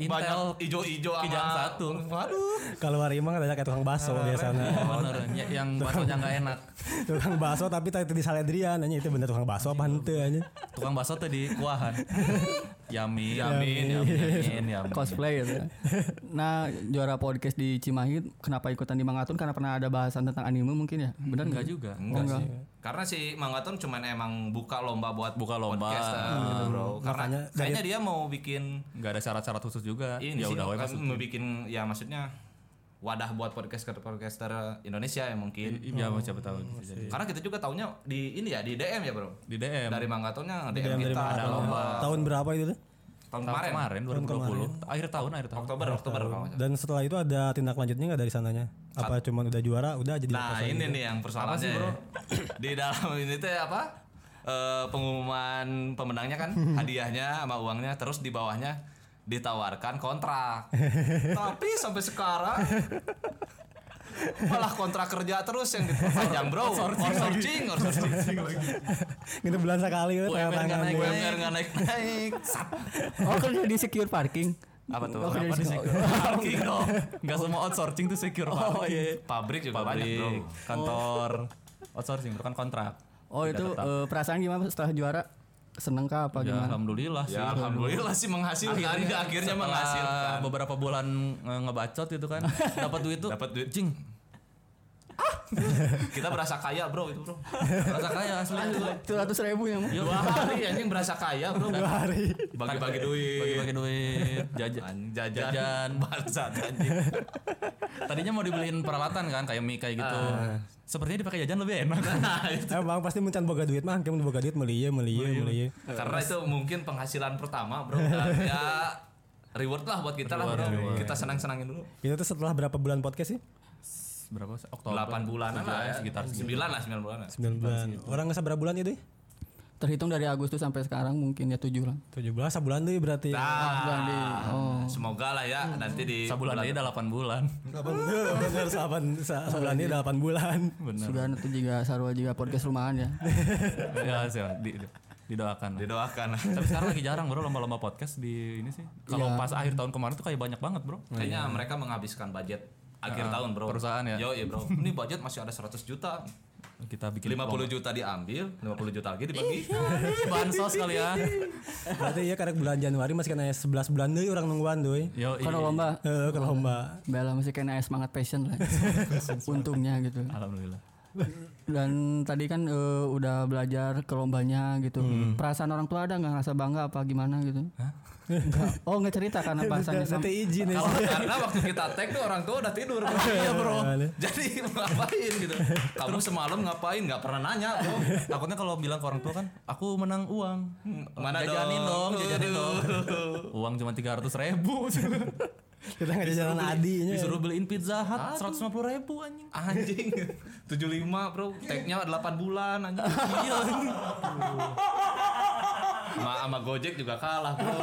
Intel
banyak ijo-ijo sama
kijang satu.
waduh
Kalau hari emang ada kayak tukang bakso biasanya.
Bener, ya, yang baksonya nggak enak.
tukang bakso tapi tadi di Saladrian nanya itu bener tukang bakso apa henteu anjing.
Tukang bakso tuh di kuahan. Yamin,
Yamin,
yamin, yamin, yamin.
cosplay gitu nah juara podcast di Cimahi kenapa ikutan di mangatun karena pernah ada bahasan tentang anime mungkin ya
Enggak
benar nggak
juga.
enggak, sih karena si Mangaton cuman emang buka lomba buat
Buka lomba. Hmm.
podcaster gitu bro karena
Makanya dari-
kayaknya dia mau bikin
Enggak ada syarat-syarat khusus juga.
ini
ya
sih
udah wae
kan
masuk.
mau bikin ya maksudnya wadah buat podcaster podcaster Indonesia ya mungkin
Iya, siapa
Oh,
tahu bisa jadi.
karena kita juga taunya di ini ya di DM ya bro
Di DM.
dari Mangatonya DM,
Yang dari
kita
mana?
ada lomba
Tahun berapa itu
tahun
tuh?
Tahun
kemarin
kemarin, 2020 akhir tahun akhir tahun
Oktober Oktober kalau nggak salah.
Dan setelah itu ada tindak lanjutnya nggak dari sananya? Apa cuman udah juara, udah jadi
nah ini nih yang persoalannya ya. di dalam ini teh apa Eh, pengumuman pemenangnya kan hadiahnya sama uangnya terus di bawahnya ditawarkan kontrak tapi sampai sekarang malah kontrak kerja terus yang diperpanjang bro outsourcing outsourcing
Gitu bulan sekali ya,
UMR nggak
tangan-tangan
naik.
gue.
UMR nggak naik naik
oh kerja di secure parking
apa tuh
Oh,
Kenapa
kerja di
di-
secure
parking dong nggak semua outsourcing tuh secure parking
Oh, iya, pabrik juga banyak
pabrik
bro
kantor outsourcing bukan kontrak
oh itu eh, perasaan gimana setelah juara seneng kah apa
ya,
gimana
alhamdulillah sih
ya alhamdulillah sih menghasilkan akhirnya, akhirnya
Setelah
menghasilkan
beberapa bulan eh, ngebacot gitu kan dapat duit tuh
Dapat duit.
jing ah
Kita berasa kaya bro itu bro.
Rasa kaya asli.
Itu ratus ribu ya, yang
Yo, dua hari Iya, anjing berasa kaya bro.
Dua hari.
Bagi-bagi duit.
Kan Bagi-bagi duit, jajan.
Anjing, Jajan.
Jajan.
Bangsat anjing.
Tadinya mau dibeliin peralatan kan kayak mic kayak gitu. Sepertinya dipakai jajan lebih ya? enak.
Emang pasti mencan boga duit mah, kamu boga duit melia melia melia.
Karena itu mungkin penghasilan pertama bro. Dan ya reward lah buat kita lah bro. Kita senang-senangin dulu.
Itu tuh setelah berapa bulan podcast sih?
Berapa? sih? Oktober.
8 bulanan
Tujuh,
lah ya.
sekitar
9 lah 9 bulanan.
9 bulan. Orang nggak berapa bulan itu?
terhitung dari Agustus sampai sekarang mungkin ya tujuh lah.
17 bulan tuh berarti.
Nah, semoga lah ya nanti di
Sebulan aja udah 8 bulan.
8 bulan, bener, 8,
Oh,
sebulan
iya.
ini 8 bulan.
Sudah itu juga sarwa juga podcast rumahan ya.
ya, sih, di- di- didoakan. lah.
didoakan.
Tapi sekarang lagi jarang bro lomba-lomba podcast di ini sih. Kalau
Iya.
pas akhir tahun kemarin tuh kayak banyak banget bro.
Kayaknya mereka menghabiskan budget akhir tahun bro.
perusahaan ya.
Yo iya bro. Ini budget masih ada 100 juta.
Kita bikin
50 juta diambil, 50 juta lagi dibagi.
bansos kali ya.
Berarti ya karena bulan Januari masih kena 11 bulan deh orang nungguan doi.
Iya.
Yo,
Karena lomba
Eh, ke lomba.
Kan Bella masih kena semangat passion lah. Untungnya gitu.
Alhamdulillah.
Dan tadi kan eh, udah belajar ke lombanya gitu. Perasaan orang tua ada nggak ngerasa bangga apa gimana gitu? Nggak. Oh nggak cerita karena bahasanya sama.
Nanti izin ya.
Kalau
Iya.
karena waktu kita tag tuh orang tua udah tidur. Bro. Iya bro. Jadi ngapain gitu. Kamu semalam ngapain? Gak pernah nanya bro.
Takutnya kalau bilang ke orang tua kan, aku menang uang.
Mana
jajanin Hmm,
"Ah,
dong, Iya.
dong?
jajanin dong. uang cuma 300 ribu.
Kita nggak jalan adinya.
Disuruh beliin pizza hut 150 ribu anjing.
Anjing. 75 bro. Tagnya 8 bulan anjing. Iya. Ma sama Gojek juga kalah bro.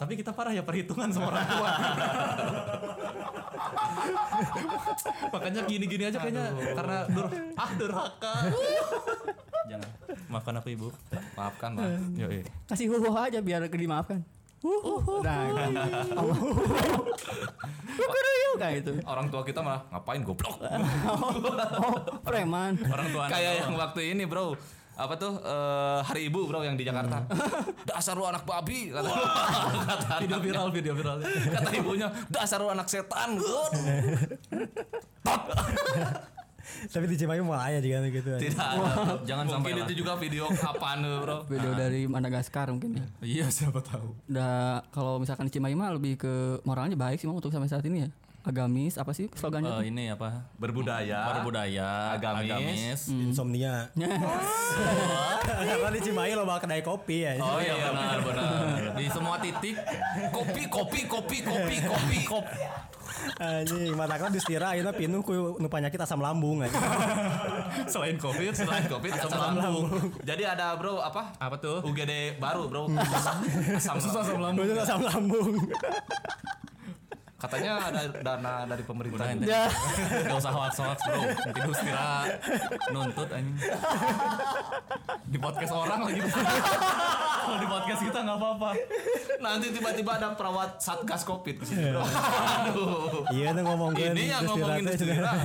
Tapi kita parah ya perhitungan sama orang tua. Makanya gini-gini aja kayaknya karena dur ah durhaka. Jangan. Maafkan aku ibu.
Maafkan lah.
Yo,
Kasih huhu aja biar dimaafkan. Huhu. Nah, kan. Allah. Huhu. kayak itu.
Orang tua kita malah ngapain goblok.
Oh, preman.
Orang tua
Kayak yang waktu ini bro apa tuh eh, hari ibu bro yang di Jakarta
Hmm.
dasar lu anak babi kata, kata
video viral video viral.
kata ibunya dasar lu anak setan Gut."
Tapi di Cimahi mulai aja juga gitu.
tidak ada.
Jangan
mungkin
sampai lah.
itu juga video kapan tuh, bro
Video dari Madagaskar mungkin ya.
Iya siapa tahu.
Udah kalau misalkan di Cimahi mah lebih ke moralnya baik sih Mang, untuk sampai saat ini ya. Agamis apa sih slogannya?
Eh,
tuh?
ini apa?
berbudaya Ya.
Berbudaya,
Agamis. Hmm.
Insomnia. Karena di Cimahi lo bawa kedai kopi ya.
Oh iya benar benar. Di semua titik
kopi kopi kopi kopi kopi kopi
Anjing, mata kan distira ayeuna pinuh ku nu penyakit asam lambung aja.
selain covid
selain kopi asam lambung jadi ada bro apa
apa tuh? Hmm.
UGD baru bro asam asam lambung
Itu asam lambung.
katanya ada dana dari pemerintah
Udah ente. Gak usah hoax hoax bro. Nanti gue kira nuntut anjing. Di podcast orang lagi. Kalau di podcast kita nggak apa-apa.
nanti tiba-tiba ada perawat satgas covid kesini bro aduh
Iya, itu
Oh.
ngomongin
Ini yang ngomongin Dustira.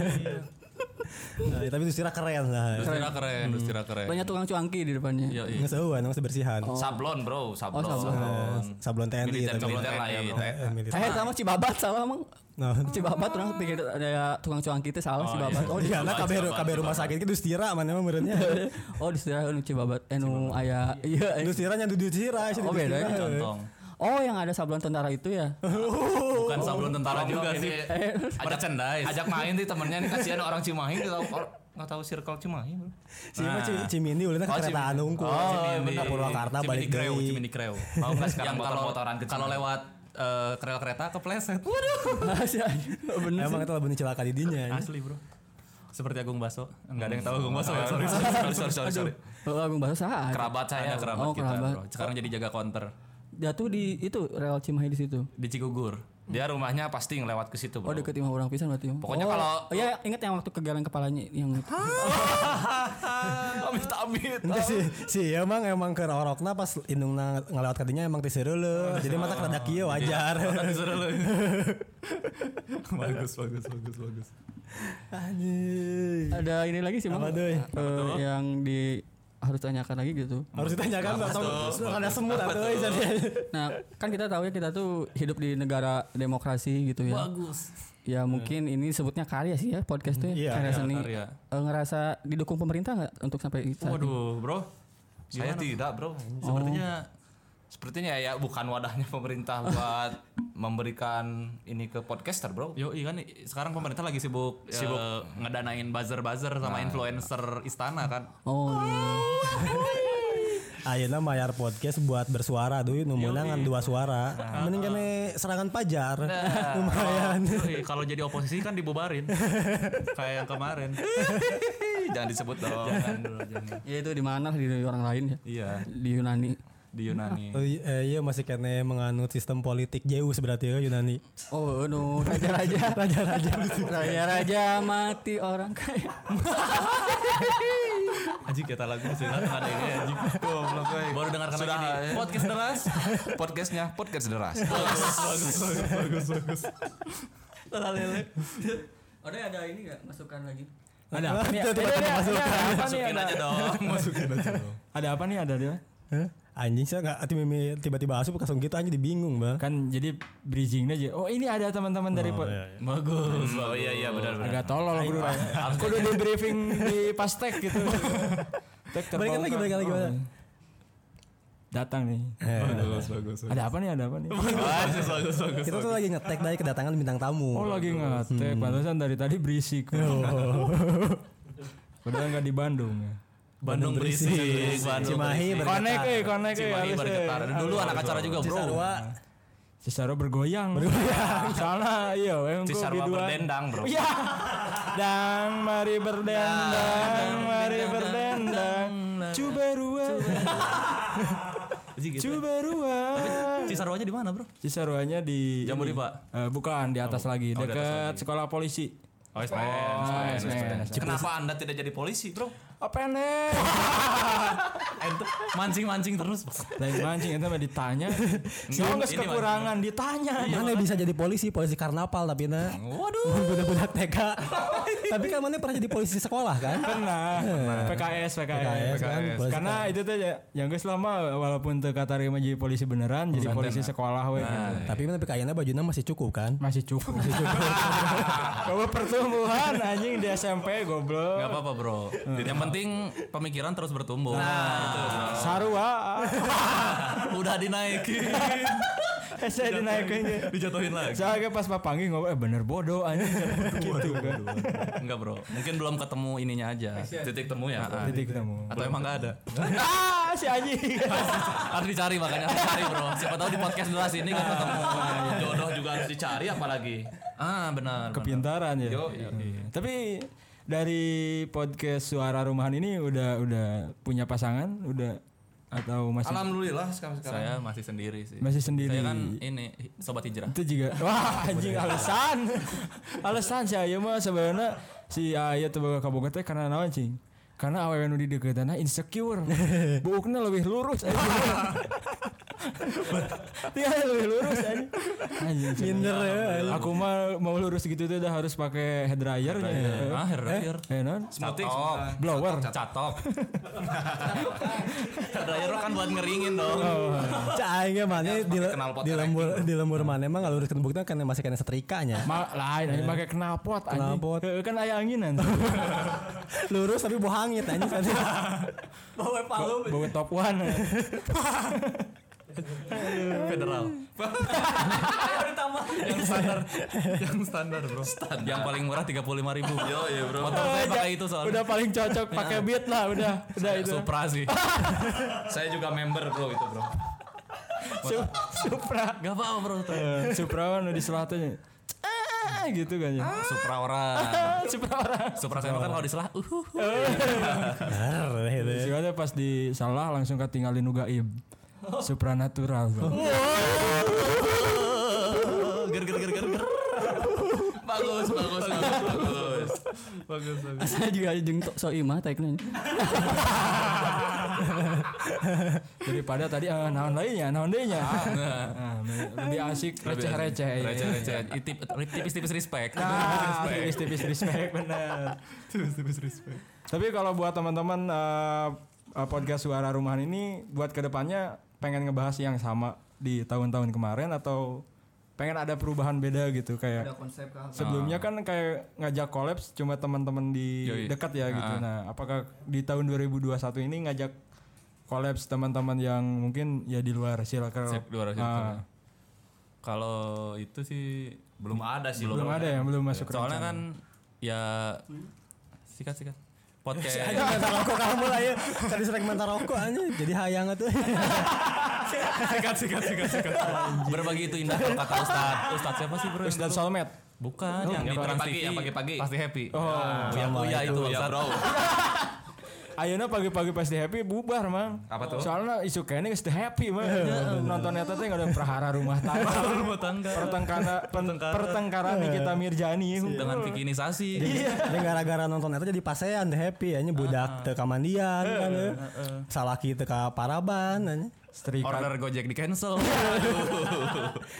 Nah, tapi distira keren lah.
Dustira
Hmm.
keren, Dustira keren.
Banyak tukang cuangki di depannya.
Yo, iya.
Ngeseuan emang
Oh.
sebersihan.
Sablon bro, sablon.
sablon.
Oh, Sablon TNI
Militer,
tapi.
militer lah ya bro.
Eh, militer.
Eh sama Cibabat salah emang
Nah,
Cibabat orang pikir ada tukang cuangki itu salah Cibabat. Oh,
Oh iya, nah kabar kabar rumah sakit itu distira mana emang merenya.
oh di sejarah nu Cibabat eh nu aya iya. eh.
Dustira nyandu distira sih.
Oh beda ya.
Contong.
Oh yang ada sablon tentara itu ya.
Bukan sablon tentara
Tolong
juga
dong,
sih.
Uh. ini
Merchandise.
Ajak main sih temennya nih kasihan orang Cimahi nggak tahu "Oh, nggak tahu circle Cimahi bro.
Si Ah. Cimindi ulin
Oh,
kereta
Cimindi.
anu unggul.
Oh,
Cimindi. Ke Purwakarta balik
Kreu,
deui.
Cimindi Kreu.
Mau nggak sekarang
Yang kalau
motor-motoran kecil?
kalau lewat eh, kereta-kereta kepleset. Waduh.
Bener sih.
Emang itu lebih celaka di dinya.
Asli bro. Seperti Agung Baso. Enggak ada yang tahu Agung Baso ya. Sorry, sorry, sorry, sorry, sorry, sorry.
Oh, Agung Bahasa saha.
Kerabat saya, kerabat
Oh,
kita
kerabat.
bro. Sekarang jadi jaga counter.
Jatuh di itu rel Cimahi di situ.
di Cigugur.
Dia rumahnya pasti ngelewat ke situ
Oh
bro.
deket imah orang pisan berarti.
Pokoknya
Oh,
kalau-
oh, iya ingat yang waktu kegalan kepalanya yang itu.
amit amit.
Enggak sih, sih emang emang ke rorokna pas indung ngelewat kadinya emang tiseru leuh. Jadi mata kerada kieu wajar.
bagus, bagus, bagus, bagus.
Anjing.
ada ini lagi sih Bang.
Apa tuh?
Eh, yang di harus tanyakan lagi gitu.
Harus ditanyakan
Apa
atau
tuh?
ada semut
Apa
atau
tuh?
Nah, kan kita tahu ya kita tuh hidup di negara demokrasi gitu ya.
Bagus.
Ya mungkin ini sebutnya karya sih ya podcast tuh ya,
Iya,
karya
iya,
seni.
karya.
Eh, ngerasa didukung pemerintah nggak untuk sampai saat ini?
Waduh, bro.
Saya tidak, Bro. Oh.
Sepertinya
Sepertinya ya bukan wadahnya pemerintah buat memberikan ini ke podcaster, Bro.
Yo, kan sekarang pemerintah lagi sibuk sibuk Nah. ngedanain buzzer-buzzer sama influencer istana kan.
Oh,
Ayeuna mayar podcast buat bersuara duit nu meunang ngan dua suara.
Ah.
Mending kene serangan pajar. Lumayan.
Ya. Yoi, kalau jadi oposisi kan dibubarin. Kayak yang kemarin.
Ih, Jangan disebut dong.
ya itu di mana di orang lain ya?
Iya,
Di Yunani.
di Yunani.
Oh, i- eh, iya masih kene menganut sistem politik Zeus berarti ya Yunani.
Oh, no, raja-raja, raja-raja, raja-raja mati orang kaya.
Anjing kita lagu sih ya. kan ada ini anjing. Baru dengarkan
Sudah,
lagi di
eh.
podcast deras.
Podcastnya podcast deras.
Ada ada ini nggak masukan lagi?
Ada apa nih?
Itu tempat pemasukan.
Masukin aja dong.
Ada apa nih? Ada dia.
Hah? Anjing saya nggak tiba-tiba- tiba-tiba asup langsung gitu anjing dibingung bang.
Kan jadi bridgingnya aja. Oh ini ada teman-teman dari
Oh,
pod-
iya, Bagus.
Oh iya iya benar benar.
agak tolol kudu kudu di briefing di pastek gitu Tek
Balikan lagi,
terbongkar.
balikan lagi,
Oh.
balikan.
datang nih
Eh.
Bagus, bagus.
ada apa nih ada apa nih
Bagus bagus bagus.
Kita tuh lagi ngetek dari kedatangan bintang tamu.
oh lagi ngetek
Hmm.
pantesan dari tadi berisik padahal nggak di Bandung ya
Bandung berisik, Bandung
Cimahi
berisik.
bergetar.
konek eh konek eh
Cimahi
halus, eh.
bergetar. Dulu anak acara juga, Bro.
Cisarua.
Cisarua bergoyang bergoyang salah iya em gua
Cisarwa
biduan.
berdendang, Bro.
ya dan mari berdendang mari berdendang coba ruang
Anjing gitu.
coba ruang
Cisarwanya di mana, Bro?
Cisaruanya di
Jambore,
ini.
Pak?
Eh, bukan di atas lagi, dekat sekolah polisi.
Oh, SPM.
Ah, SPN.
Kenapa Anda tidak jadi polisi, Bro?
Apa nih?
Mancing-mancing terus.
Lain mancing itu mah ditanya. Jauh nggak
ini
kekurangan ditanya.
Mana bisa jadi polisi, polisi karnaval tapi na.
Waduh.
Budak-budak TK. tapi kan mana pernah jadi polisi sekolah kan?
Pernah. PKS, PKS.
PKS, kan, polisi
Karena itu tuh ya, yang gue selama walaupun teu katarima jadi polisi beneran, nah. jadi polisi sekolah we.
Tapi mana PKN-nya bajunya masih cukup kan?
Masih cukup, masih cukup. Kalau pertumbuhan anjing di SMP goblok.
Gak apa-apa, Bro. Nah. Yang penting pemikiran terus bertumbuh.
Nah. Sarua.
udah dinaikin
Eh saya dinaikin ya.
dijatuhin lagi
Saya pas papangi ngomong eh bener bodoh anjing gitu kan.
enggak bro mungkin belum ketemu ininya aja titik temu ya
Titik ketemu.
atau emang nggak ada
Ah si anjing.
harus dicari makanya harus dicari bro siapa tahu di podcast jelas ini nggak ketemu
Jodoh juga harus dicari apalagi.
ah benar benar.
Pintaran ya. Iya. Tapi dari podcast suara rumahan ini udah udah punya pasangan udah atau masih
Alhamdulillah sekarang sekarang.
saya masih sendiri sih
masih sendiri.
saya kan ini hi- sobat hijrah
itu juga wah anjing alasan alasan si Ayu mah sebenarnya si Ayu tuh bawa kaboga teh karena naon cing karena awewe nu di dekeutana insecure buukna lebih lurus anjing dia lebih lurus anjing anjing
Minder ya.
aku mah mau lurus gitu tuh udah harus pakai hair dryer ya
ah hair dryer
eh non
Smoothie.
blower
catok hair dryer kan buat ngeringin dong
Caingnya mana di,
knalpot
di lembur di lembur mana emang kalau uruskan bukti kan masih kena setrikanya.
Ma lain anjing pakai knalpot anjing
Knalpot.
Heeh, kan aya anginan
Lurus tapi bohangnya tanya kan.
bawa top one
federal yang standar yang standar bro yang paling murah tiga puluh lima ribu yo iya bro motor saya pakai itu soalnya
udah paling cocok pakai beat lah udah udah itu
Supra sih
Saya juga member, Bro, itu, Bro.
Su- Supra
Gak apa-apa bro
Eh, Supra kan di selatan gitu kan ya.
Supra orang
Ah, Supra orang.
Supra saya kan kalau diselah uhuh.
Bener.
Soalnya pas di salah langsung ketinggalin nu gaib. Supranatural. bro.
Ger ger ger ger ger
Bagus, bagus, bagus, bagus.
Saya juga jeung soimah teknya.
Daripada tadi eh, naon lainnya, naon deunya. Ah, lebih asik receh-receh. ya.
Receh receh Itip- Tipis-tipis respect
Ah, tipis-tipis respect bener. Tapi kalau buat teman-teman eh, eh, podcast suara rumahan ini buat kedepannya pengen ngebahas yang sama di tahun-tahun kemarin atau pengen ada perubahan beda gitu kayak
Ada konsep kah?
Sebelumnya kan kayak ngajak kolaps cuma teman-teman di
Ah. Yoi. Ah.
dekat ya gitu. Nah, apakah di tahun 2021 ini ngajak kolaps teman-teman yang mungkin ya di luar silakan.
Sip, luar silakan.
Ah,
Kalau itu sih
belum ada sih
belum ada ya, belum masuk ke
soalnya
rencana.
kan ya sikat sikat podcast
Aja mentar rokok kamu lah ya. Tadi sering mentar rokok aja jadi hayang tuh.
sikat sikat sikat sikat berbagi itu indah kalau kata ustad ustad siapa sih bro yang
Ustadz
dulu?
Solmed.
bukan yang di
yang
trans
pagi-pagi,
TV
yang pagi-pagi.
pasti happy
Oh,
ya ya itu
ya
Ustad.
bro
Ayeuna pagi-pagi pas di happy bubar, Mang.
Apa tuh?
Soalnya isu kayaknya geus di happy, Mang.
Iya,
Nonton eta teh enggak ada prahara rumah tangga.
rumah tangga Iya.
Pertengkara pertengkaran kita Mirjani.
dengan bikinisasi
Ya gara-gara nonton itu jadi pasean teh happy ya nya budak teu ka mandian kan ya. Salaki teu ka paraban nya.
Setrika
order gojek di cancel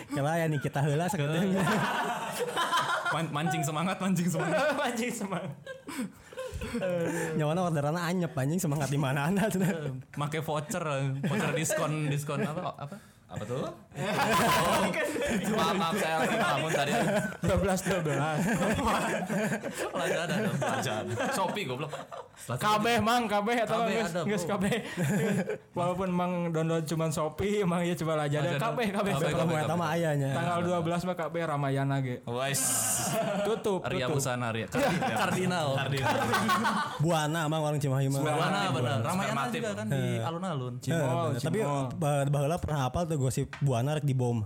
Kela ya nih kita heula sakitnya.
Man- mancing semangat mancing semangat
Anjing semangat.
Nyawana orderanna anyep anjing semangat di mana-mana cenah.
make voucher voucher diskon diskon apa apa
apa tuh Oh, maaf maaf saya lagi bangun tadi
12 12.
Lada ada dong.
Ajan. Shopee goblok
kabeh mang kabeh atau
Kabeh
nggak
ada,
nggak
bro.
kabeh walaupun mang download cuman shopee mang ya cuma aja ada
Lazada.
kabeh kabeh
Kabeh, Iya.
Kamu eta mah aya nya.
tanggal 12 mah kabeh ramayana ge
Wes.
tutup
Arya
tutup
Busana Arya
Kan
Iya. Kardinal Kardinal
Buana mah orang Cimahi mah.
Buana benar Ramayana
Supermatif.
juga kan di alun-alun
cimol
Eh, tapi
cimol
bah- baheula pernah hafal tuh gosip Buana rek dibom.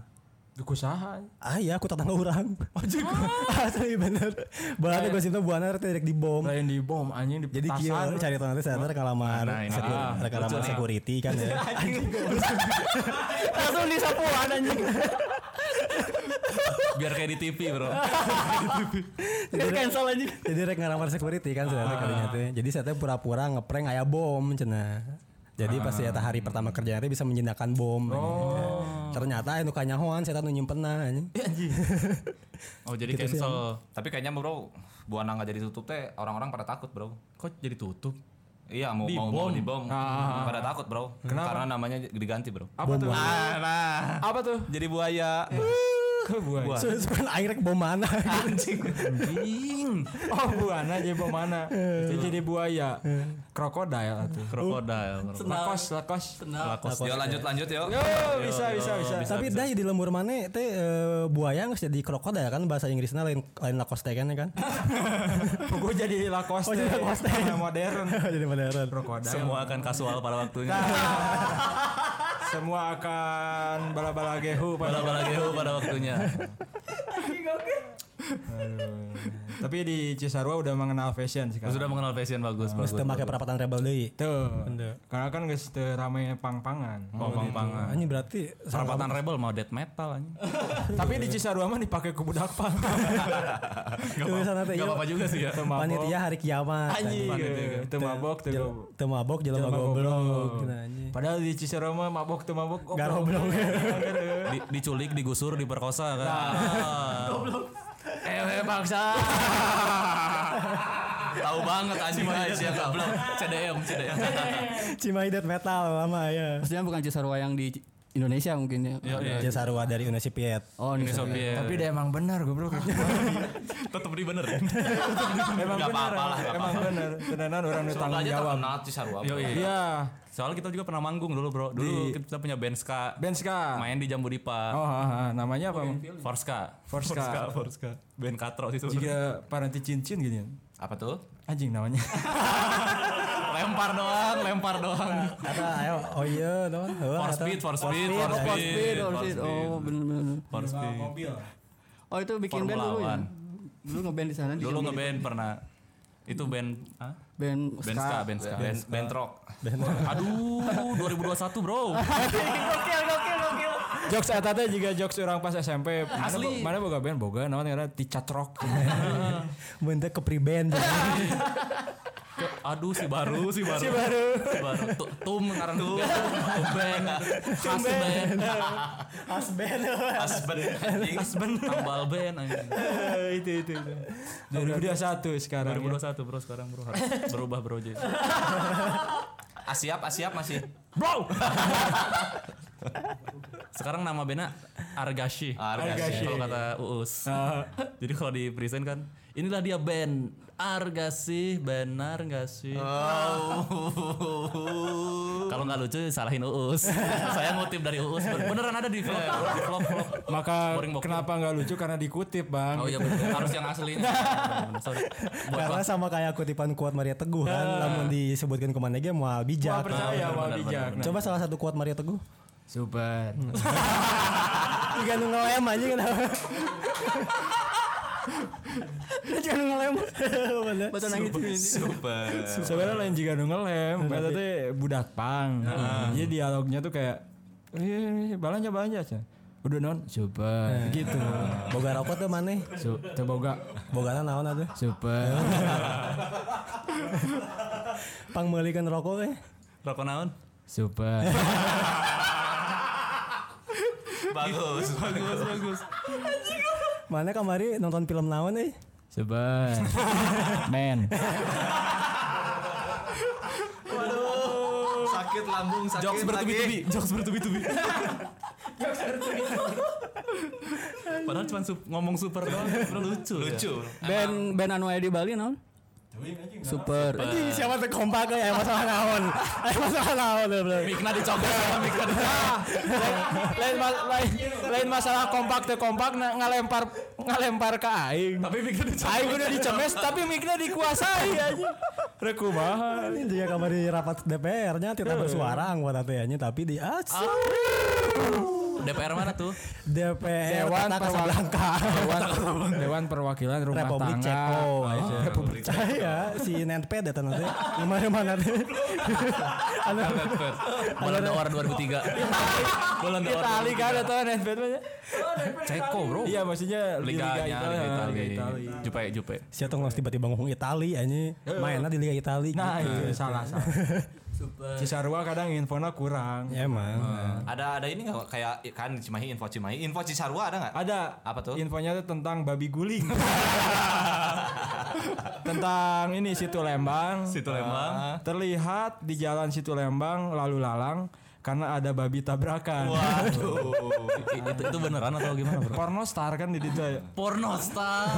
Duku saha
Ah iya aku tetangga orang. Oh juga. Asli bener. Buana gosipnya Buana rek teh rek dibom.
lain di bom anjing di
Jadi kieu
petasan
cari tahu nanti saya ntar kalamar
Nah, ini
security,
dia.
rek kalamar
Lucu nih.
security kan ya.
langsung disapuan anjing
biar kayak di TV bro
Jadi cancel anjing. Jadi rek ngalamar security kan saya teh kalinya teh. Jadi saya teh pura-pura ngeprank aya bom cenah. Jadi pas saya hari pertama kerja teh bisa menjinakkan bom. Ternyata anu kanyahoan saya teh nu nyimpenna nah, anjing.
oh jadi cancel
tapi kayaknya bro buana nggak jadi tutup teh orang-orang pada takut bro
kok jadi tutup Ah,
iya mau mau mau dibom pada takut bro karena namanya diganti bro
apa tuh apa tuh
jadi buaya
Ke buaya
So, sekarang aing rek bom mana? Anjing.
anjing
oh buana jadi bom mana Itu jadi buaya krokodil atuh
krokodil
lakos lakos
lakos
yuk lanjut lanjut yuk
Yo, bisa bisa bisa
Tapi dah jadi lembur mana teh eh, buaya nggak jadi krokodil kan bahasa Inggrisnya lain lain lacoste kan ya kan?
gue jadi lakos
Oh, jadi Lacoste.
modern
jadi modern.
krokodil
semua akan kasual pada
Nah,
waktunya
semua akan bala-bala gehu pada
bala-bala gehu pada waktunya
tapi di Cisarua udah mengenal fashion sekarang
sudah mengenal fashion bagus
Terus
bagus
teu make perapatan rebel deui.
tuh karena kan guys ramai pang-pangan
Pang pangan.
Anjing berarti
Perapatan rebel mau death metal anjing.
tapi di Cisarua mah dipakai ke budak pang
tulisan teh
Gak
ieu
apa-apa juga sih ya.
Itu mabok.
panitia hari kiamat.
anjing
Panitia.
itu mabok tuh
Jel- Teu mabok jelema goblok. Gitu, anjing.
padahal di Cisarua mah mabok tuh mabok Oh, goblok.
Garoblok.
Di, diculik, digusur, diperkosa kan.
Ah.
eh bangsa
tahu banget anjing guys
iya
ya goblok
CDM, CDM.
Cimahi death metal lama ya.
Maksudnya bukan Cisarua yang di Indonesia mungkin ya.
Iya.
Jasarua dari Uni Soviet.
Oh,
Ini
ini
Soviet.
tapi dia emang benar goblok
tetap di bener.
emang
Nggak
benar
apa-apa lah, nggak
emang benar tenanan orang nu
Semoga
tanggung
aja
jawab
terkenal Cisarua bro.
Yo, iya.
iya
Soalnya kita juga pernah manggung dulu, Bro. Dulu kita punya band ska.
Ben Ska.
Main di Jambu Dipa.
Oh, ah, ah, namanya apa? Mang?
Forska.
Forska.
Forska. Band Katro sih sebenarnya.
Jika paranti cincin gini.
apa tuh
Anjing namanya.
Lempar doang, lempar doang.
Kata ayo oh iya teman.
For speed, for speed, for
Oh, for
speed,
speed, for speed. Oh, bener-bener.
For speed.
Oh, itu bikin band
Formula
dulu ya.
One.
Dulu ngeband di sana di
Dulu
Jambi.
ngeband pernah. Itu band ah?
band
Band ska, band ska.
Ben- bentrok
Aduh, 2021, Bro.
jokes eta teh juga jokes orang pas SMP. Mana
Asli.
bo- Mana boga band boga namanya ngaran Ticat Rock.
Bentuk ke pre-band. ya.
Ke- Aduh si baru si baru si baru si baru Tu- tum ngarang tum tumben hasben
Asband.
husband anjing
hasben tambal ben anjing.
Iya. itu itu itu. 2021 sekarang. ya.
2021 bro sekarang bro harus berubah bro jadi
Asiap, asiap masih.
Bro.
Sekarang nama bandnya Argashi.
Argashi.
Kalau kata Uus.
Ah.
Jadi kalau di present kan, inilah dia band Argashi, benar nggak sih?
Oh.
Kalau nggak lucu salahin Uus. Saya ngutip dari Uus. Ben- Beneran ada di vlog, di vlog, vlog.
Iya. Maka
Boring bokep.
kenapa nggak lucu karena dikutip bang?
Oh iya betul, harus yang aslinya. Bener, Sorry. Buat
Karena
bang-
sama kayak kutipan kuat Maria Teguh kan, namun disebutkan kemana aja mau
Wah
bijak.
benar,
percaya wah
benar,
bijak. Nah.
Coba salah satu kuat Maria Teguh.
Super.
Digantung ngelem aja kenapa? Jangan ngelem. Bener.
Bacaan yang gitu ini.
Super.
Sebenarnya lain jika nu ngelem, kata teh budak pang. Jadi dialognya tuh kayak eh balanja balanja aja. Udah non super gitu.
Boga rokok tuh mana?
Su teboga
Bogana naon atuh?
super.
Pang meulikeun rokok eh.
Rokok naon?
Super.
Bagus, bagus, bagus.
Mana kamari nonton film naon eh?
Super. Men.
Sakit lambung, sakit
Jokes bertubi-tubi, jokes bertubi-tubi. Padahal cuma sup- ngomong super doang, bro lucu. ya.
Lucu.
Ben Ben anu aya di Bali naon? Super.
Anjing siapa teh kompak
ya?
eh aya masalah naon? Aya masalah naon eh, bro.
Mikna dicopot sama Mikna
Ah. lain, ma- lain, lain masalah kompak teh kompak na- ngalempar ngalempar ke aing.
Tapi Mikna dicopot.
Aing udah dicemes tapi mikna dikuasai aja. Reku mahal.
Ini juga kamari rapat DPR-nya tidak bersuara anggota teh tapi di
Ah.
asuh.
DPR mana tuh?
DPR
Dewan
Kota
Perwakilan-
Casablanca.
Dewan, Dewan Perwakilan Rumah
Republik
Tangga. Oh, iya,
Ceko.
Malaysia.
Republik Ceko. Iya, si Nenped ya tanda teh. Gimana mana
Iya,
teh. Anu
Bulan Doar 2003. Bulan Doar.
Itali kan atau Nenped mah ya?
Ceko, Bro.
Iya maksudnya
ya,
di
Liganya Liga
Itali, Liga
Itali.
Itali.
Jupe, Jupe.
Siapa tuh ngelos tiba-tiba ngomong Itali anjing. Mainnya di Liga Itali.
Iya.
Gitu.
Nah itu salah salah. Cisarua kadang infona kurang.
Ya emang.
Nah,
Hmm.
Ada ada ini nggak kayak kan Cimahi info Cimahi, info Cisarua ada nggak?
Ada
Apa tuh?
Infonya tuh tentang babi guling. tentang ini situ Lembang.
Situ Lembang.
Ah, terlihat di jalan situ Lembang lalu lalang karena ada babi tabrakan.
Waduh.
I- Itu itu beneran atau gimana, Bro?
Porno star kan di situ ya.
Pornostar.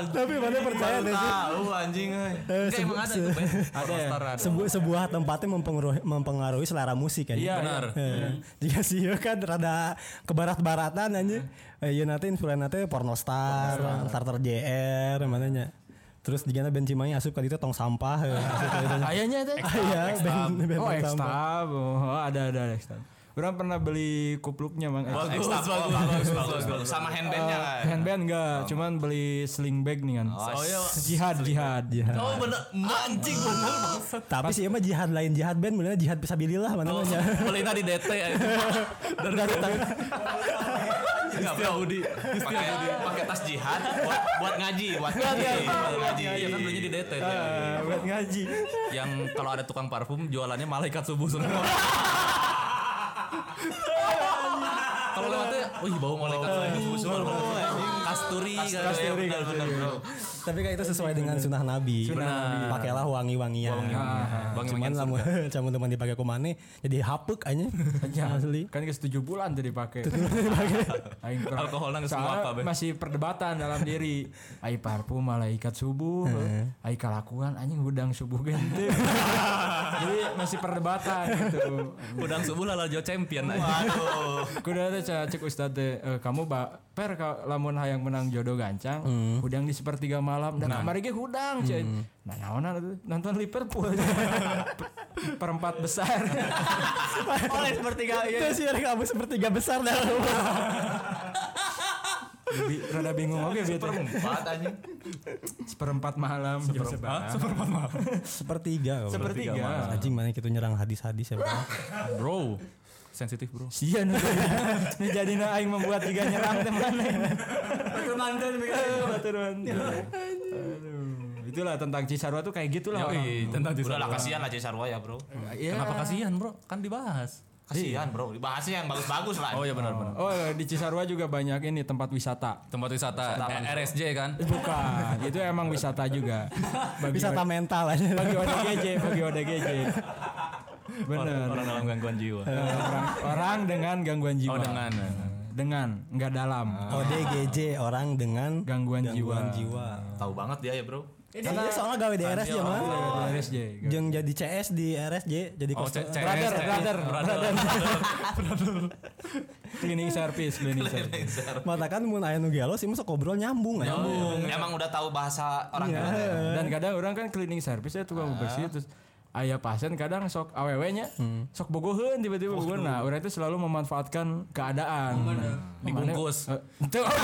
Tapi mana percaya
Baru
deh sih. Eh,
tahu anjing. euy.
Enggak emang ada tuh, Ben. Pornostar ada.
Sebu- sebuah tempatnya mempengaruhi, mempengaruhi selera musik kan.
Iya,
Benar.
Eh, Jika sih ya kan rada ke barat-baratan anjing.
Hmm.
Eh, Iya nanti influencer nanti pornostar, starter JR, mananya. Terus jika band Cimahi asup kali itu tong sampah. eh, asup ka ditu nya.
Ayahnya teh.
Ah, Iya, band band
Oh
tong sampah.
ekstab. Oh ada ada ada ekstab. Orang pernah beli kupluknya mang. Ekstab.
Bagus, bagus, bagus, bagus, bagus. Sama handbandnya kan.
Handband enggak, cuman beli sling bag nih kan.
Oh, iya.
Jihad, jihad, jihad.
Oh bener, mancing bener bangsat.
Tapi sih emang jihad lain jihad band, mulanya jihad pisabilillah mana
Oh,
namanya.
beli tadi DT ya. Dari
gitu,
Enggak bro. Pakai pakai tas jihad buat buat ngaji, buat ngaji. Buat ngaji.
Iya kan belinya di DT.
Eh, buat ngaji.
Yang kalau ada tukang parfum jualannya malaikat subuh semua. Kalau lewatnya, wih bau malaikat Oh, subuh semua. Kasturi, kan.
kasturi,
Benar, benar, bro.
Tapi kayak itu sesuai dengan sunnah Nabi.
Nabi.
Pakailah wangi-wangian. Nah,
Bang
Cuman
Imanyan
lamun cuman teman dipakai kumane jadi hapek aja. Asli.
Kan ke 7 bulan tuh dipakai. Aing kurang-
Alkoholnya nggak
Soalnya
semua apa, Be?
Masih perdebatan dalam diri. Ai parfum malaikat subuh. Ai kalakuan anjing udang subuh gitu. Jadi masih perdebatan gitu.
Udang subuh lah Jo champion aja.
Waduh.
Kuda teh ca- cek ustad teh eh, kamu ba per ka, lamun hayang menang jodoh gancang
Hmm.
hudang di sepertiga malam dan
Nah.
kamari ge hudang cek nah naonan atuh, nonton Liverpool perempat besar
Oleh sepertiga itu sih mereka kamu iya, sepertiga besar dah.
Jadi rada bingung oke bieu teh.
Perempat anjing.
seperempat malam jam sebelas seperempat malam
sepertiga. kamu.
sepertiga
Anjing mana gitu nyerang hadis-hadis ya. Bang.
Bro, sensitif bro.
sia nu nu Iya, jadi nu aing membuat juga nyerang teh mana Eh, batur mantan. Aduh. itulah tentang Cisarua tuh kayak gitulah orang.
tentang
Udah lah kasihan lah Cisarua ya bro.
Iya.
Kenapa kasihan bro? Kan dibahas.
Kasihan bro, bahasnya yang bagus-bagus lah.
Oh ya benar benar.
Oh di Cisarua juga banyak ini tempat wisata.
Tempat wisata, eh, RSJ kan.
Bukan, itu emang wisata juga. Bagi
Wisata mental aja.
bagi ODGJ, bagi ODGJ. Bener.
Orang dalam gangguan jiwa.
Eh, orang, orang dengan gangguan jiwa.
Oh dengan. Ah.
Dengan, nggak dalam.
ODGJ orang dengan
Gangguan
gangguan
jiwa.
jiwa.
Tahu banget dia ya bro.
Eh, dia soalnya gawe di RSJ mah.
RSJ.
Jeng jadi CS di RSJ jadi
Oh,
kostum.
C- CS.
Brother,
CS.
brother,
Brother.
Cleaning service, cleaning service.
Mata kan mun aya nu gelos ieu mah sok ngobrol nyambung aja.
Nyambung. Emang udah tahu bahasa orang
Iya.
gimana.
Eh.
Dan kadang orang kan cleaning service ya
Ah.
tukang bersih terus ayah pasien kadang sok awewenya
Hmm.
sok bogoheun tiba-tiba bogoheun. Nah, orang itu selalu memanfaatkan keadaan. Nah,
Dibungkus.
Eh, Itu oke.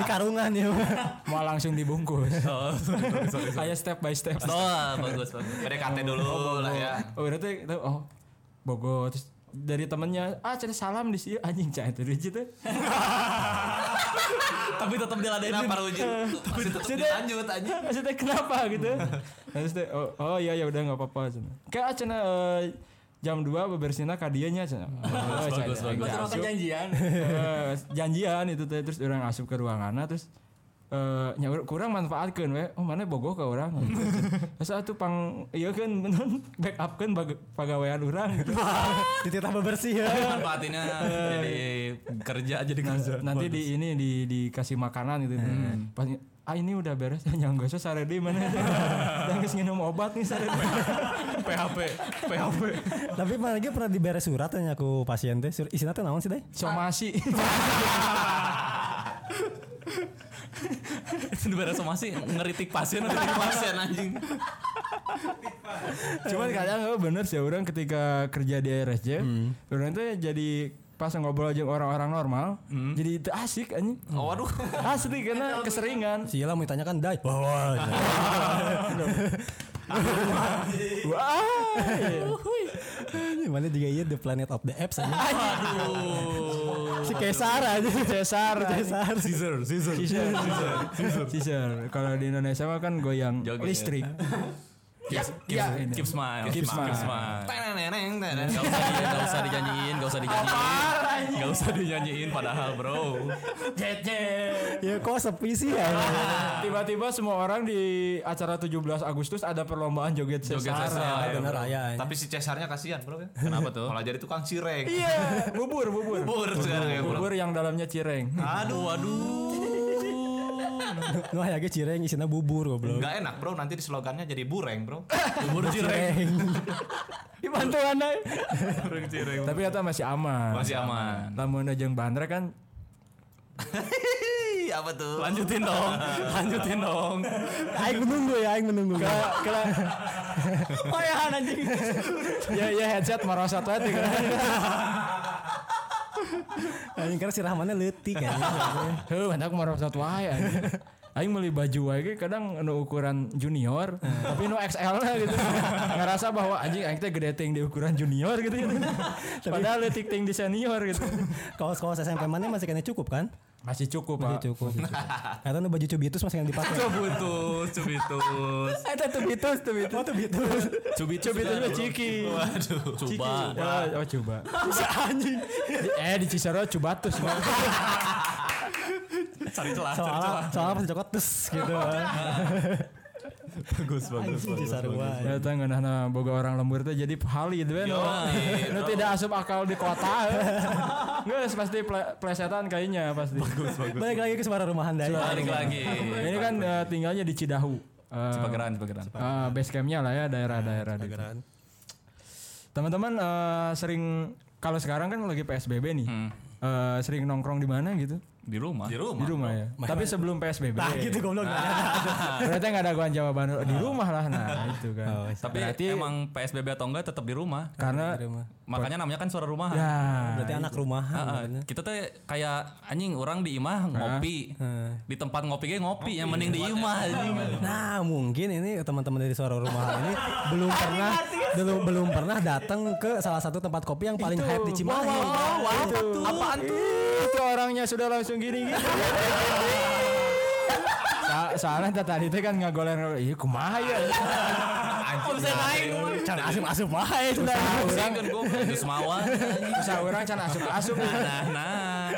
Di karungan ya.
Mau langsung dibungkus.
Oh, sorry, sorry, sorry.
Saya step by step.
Oh, bagus bagus.
PDKT dulu lah ya.
Oh, orang itu oh bogo terus dari temennya ah cari salam di sini anjing cai itu gitu
Ah,
Tapi tetap diladenin.
Kenapa Ruji? Masih tetap
Sudah.
dilanjut aja.
maksudnya kenapa gitu terus teh oh, oh iya ya udah nggak apa-apa cina kayak cina eh, jam 2 bebersihna ka dieu nya cina oh, cina,
bagus,
aing
bagus.
asup.
janjian.
Eh, janjian itu teh terus orang asup ke ruanganna terus eh nya urang- kurang manfaatkan we oh mana bogoh ke orang terus atuh pang iya kan backupkeun baga- pagawean urang gitu
Dititah bebersih ya.
Manfaatinnya
Eh.
jadi kerja jadi kerja.
nanti di ini di dikasih makanan gitu pas ah ini udah beres yang gue sare di mana yang geus minum obat nih sare
PHP, PHP.
Tapi mana lagi pernah diberes surat tanya ku pasien teh. Sur- Isina teh naon sih teh?
somasi
Ah.
Di somasi ngeritik pasien, ngeritik pasien anjing.
cuman kadang eh, bener sih orang ketika kerja di RSJ orang tuh jadi pas ngobrol aja orang-orang normal jadi itu asik anjing
Oh, waduh.
asli karena keseringan
Si Ila mau ditanyakan dai. Wah, wah.
wah
Mana juga iya the planet of the apps aja.
Aduh.
Si Kesar aja. Kesar. Kesar.
Caesar, Caesar.
Caesar Caesar kalau di Indonesia mah kan goyang ya.
Joget.
listrik
Keep, iya. keep smile.
Keep smile.
Teneneng, teneneng.
Gak usah, di- gak usah dinyanyiin, gak usah dinyanyiin. Gak usah dinyanyiin padahal bro.
Ya kok sepi sih ya.
Nah, Tiba-tiba semua orang di acara 17 Agustus ada perlombaan joget
Joget
sesar.
sesar.
Ah, bener aya. anjing.
Tapi si Cesarnya kasihan bro ya.
Kenapa tuh?
Malah jadi tukang cireng.
Iya, bubur, bubur.
Bubur sekarang ya bro.
Bubur yang dalamnya cireng.
Aduh, waduh.
Nuh aya ge cireng isina bubur goblok.
Gak enak bro, nanti di slogannya jadi bureng bro.
Bubur cireng.
Dibantu anda.
Bubur cireng.
Tapi kata masih aman.
Masih aman.
Lamun jeung bandre kan
Ih, apa tuh?
Lanjutin dong, lanjutin dong.
Aing menunggu ya, aing menunggu.
kela
Oh ya anjing.
ya ya headset merosot hati kan.
Anjing karena si Rahmannya leutik anjing.
Heuh, hendak merosot wae anjing. Aing beli baju wae ge kadang anu ukuran junior, tapi nu XL lah gitu. Ngerasa bahwa anjing aing teh gede ting di ukuran junior gitu. Padahal leutik ting di senior gitu.
Kaos-kaos SMP mana masih kena cukup kan?
Masih cukup, Pak.
Masih cukup. Kata nu baju cubitus masih kena dipakai.
Cubitus, cubitus.
Eta tubitus, tubitus.
Oh cubitus.
Cubitus,
Cubitus mah ciki.
Waduh.
Coba.
Ya, Oh, coba. anjing. Eh di Cisarua cubatus. Bang.
Cari celah, cari celah.
Soalnya soalnya pas dicokot tus gitu.
Bagus, bagus,
Anjing di sarua.
Iya.
Eta ngeunahna nah, boga orang lembur teh jadi hali itu kan.
Yo, iya,
Nu
bro.
tidak asup akal di kota. Geus pasti ple- plesetan kayaknya pasti.
Balik lagi ke suara rumahan dari.
Balik lagi.
Ini kan eh, tinggalnya di Cidahu. Eh,
Cipageran, Cipageran.
eh, base campnya lah ya daerah-daerah gitu. Teman-teman eh, sering kalau sekarang kan lagi PSBB nih. Eh, sering nongkrong di mana gitu?
Di Hmm. rumah.
Di rumah.
Di rumah ya. Tapi sebelum PSBB.
Nah gitu goblok.
Ternyata nggak ada gua jawaban di rumah lah nah itu kan.
Tapi emang PSBB atau enggak tetap di rumah.
karena
Makanya namanya kan suara rumah.
ya
Berarti anak rumahan.
Ah,
makanya.
kita teh kayak anjing orang di imah ngopi. Di tempat ngopi ge ngopi, yang mending di imah anjing.
Nah mungkin ini teman-teman dari suara rumahan ini belum pernah belum belum pernah datang ke salah satu tempat kopi yang paling hype di Cimahi.
itu. Apaan tuh? Itu orangnya sudah langsung gini gini. Sa soalnya tadi tadi teh kan nggak goler iya kumaha ya.
Pulsa lain.
Can asup asup wae cenah.
Orang kan gue baju semawa.
Bisa orang can asup-asup nih.
Nah, nah.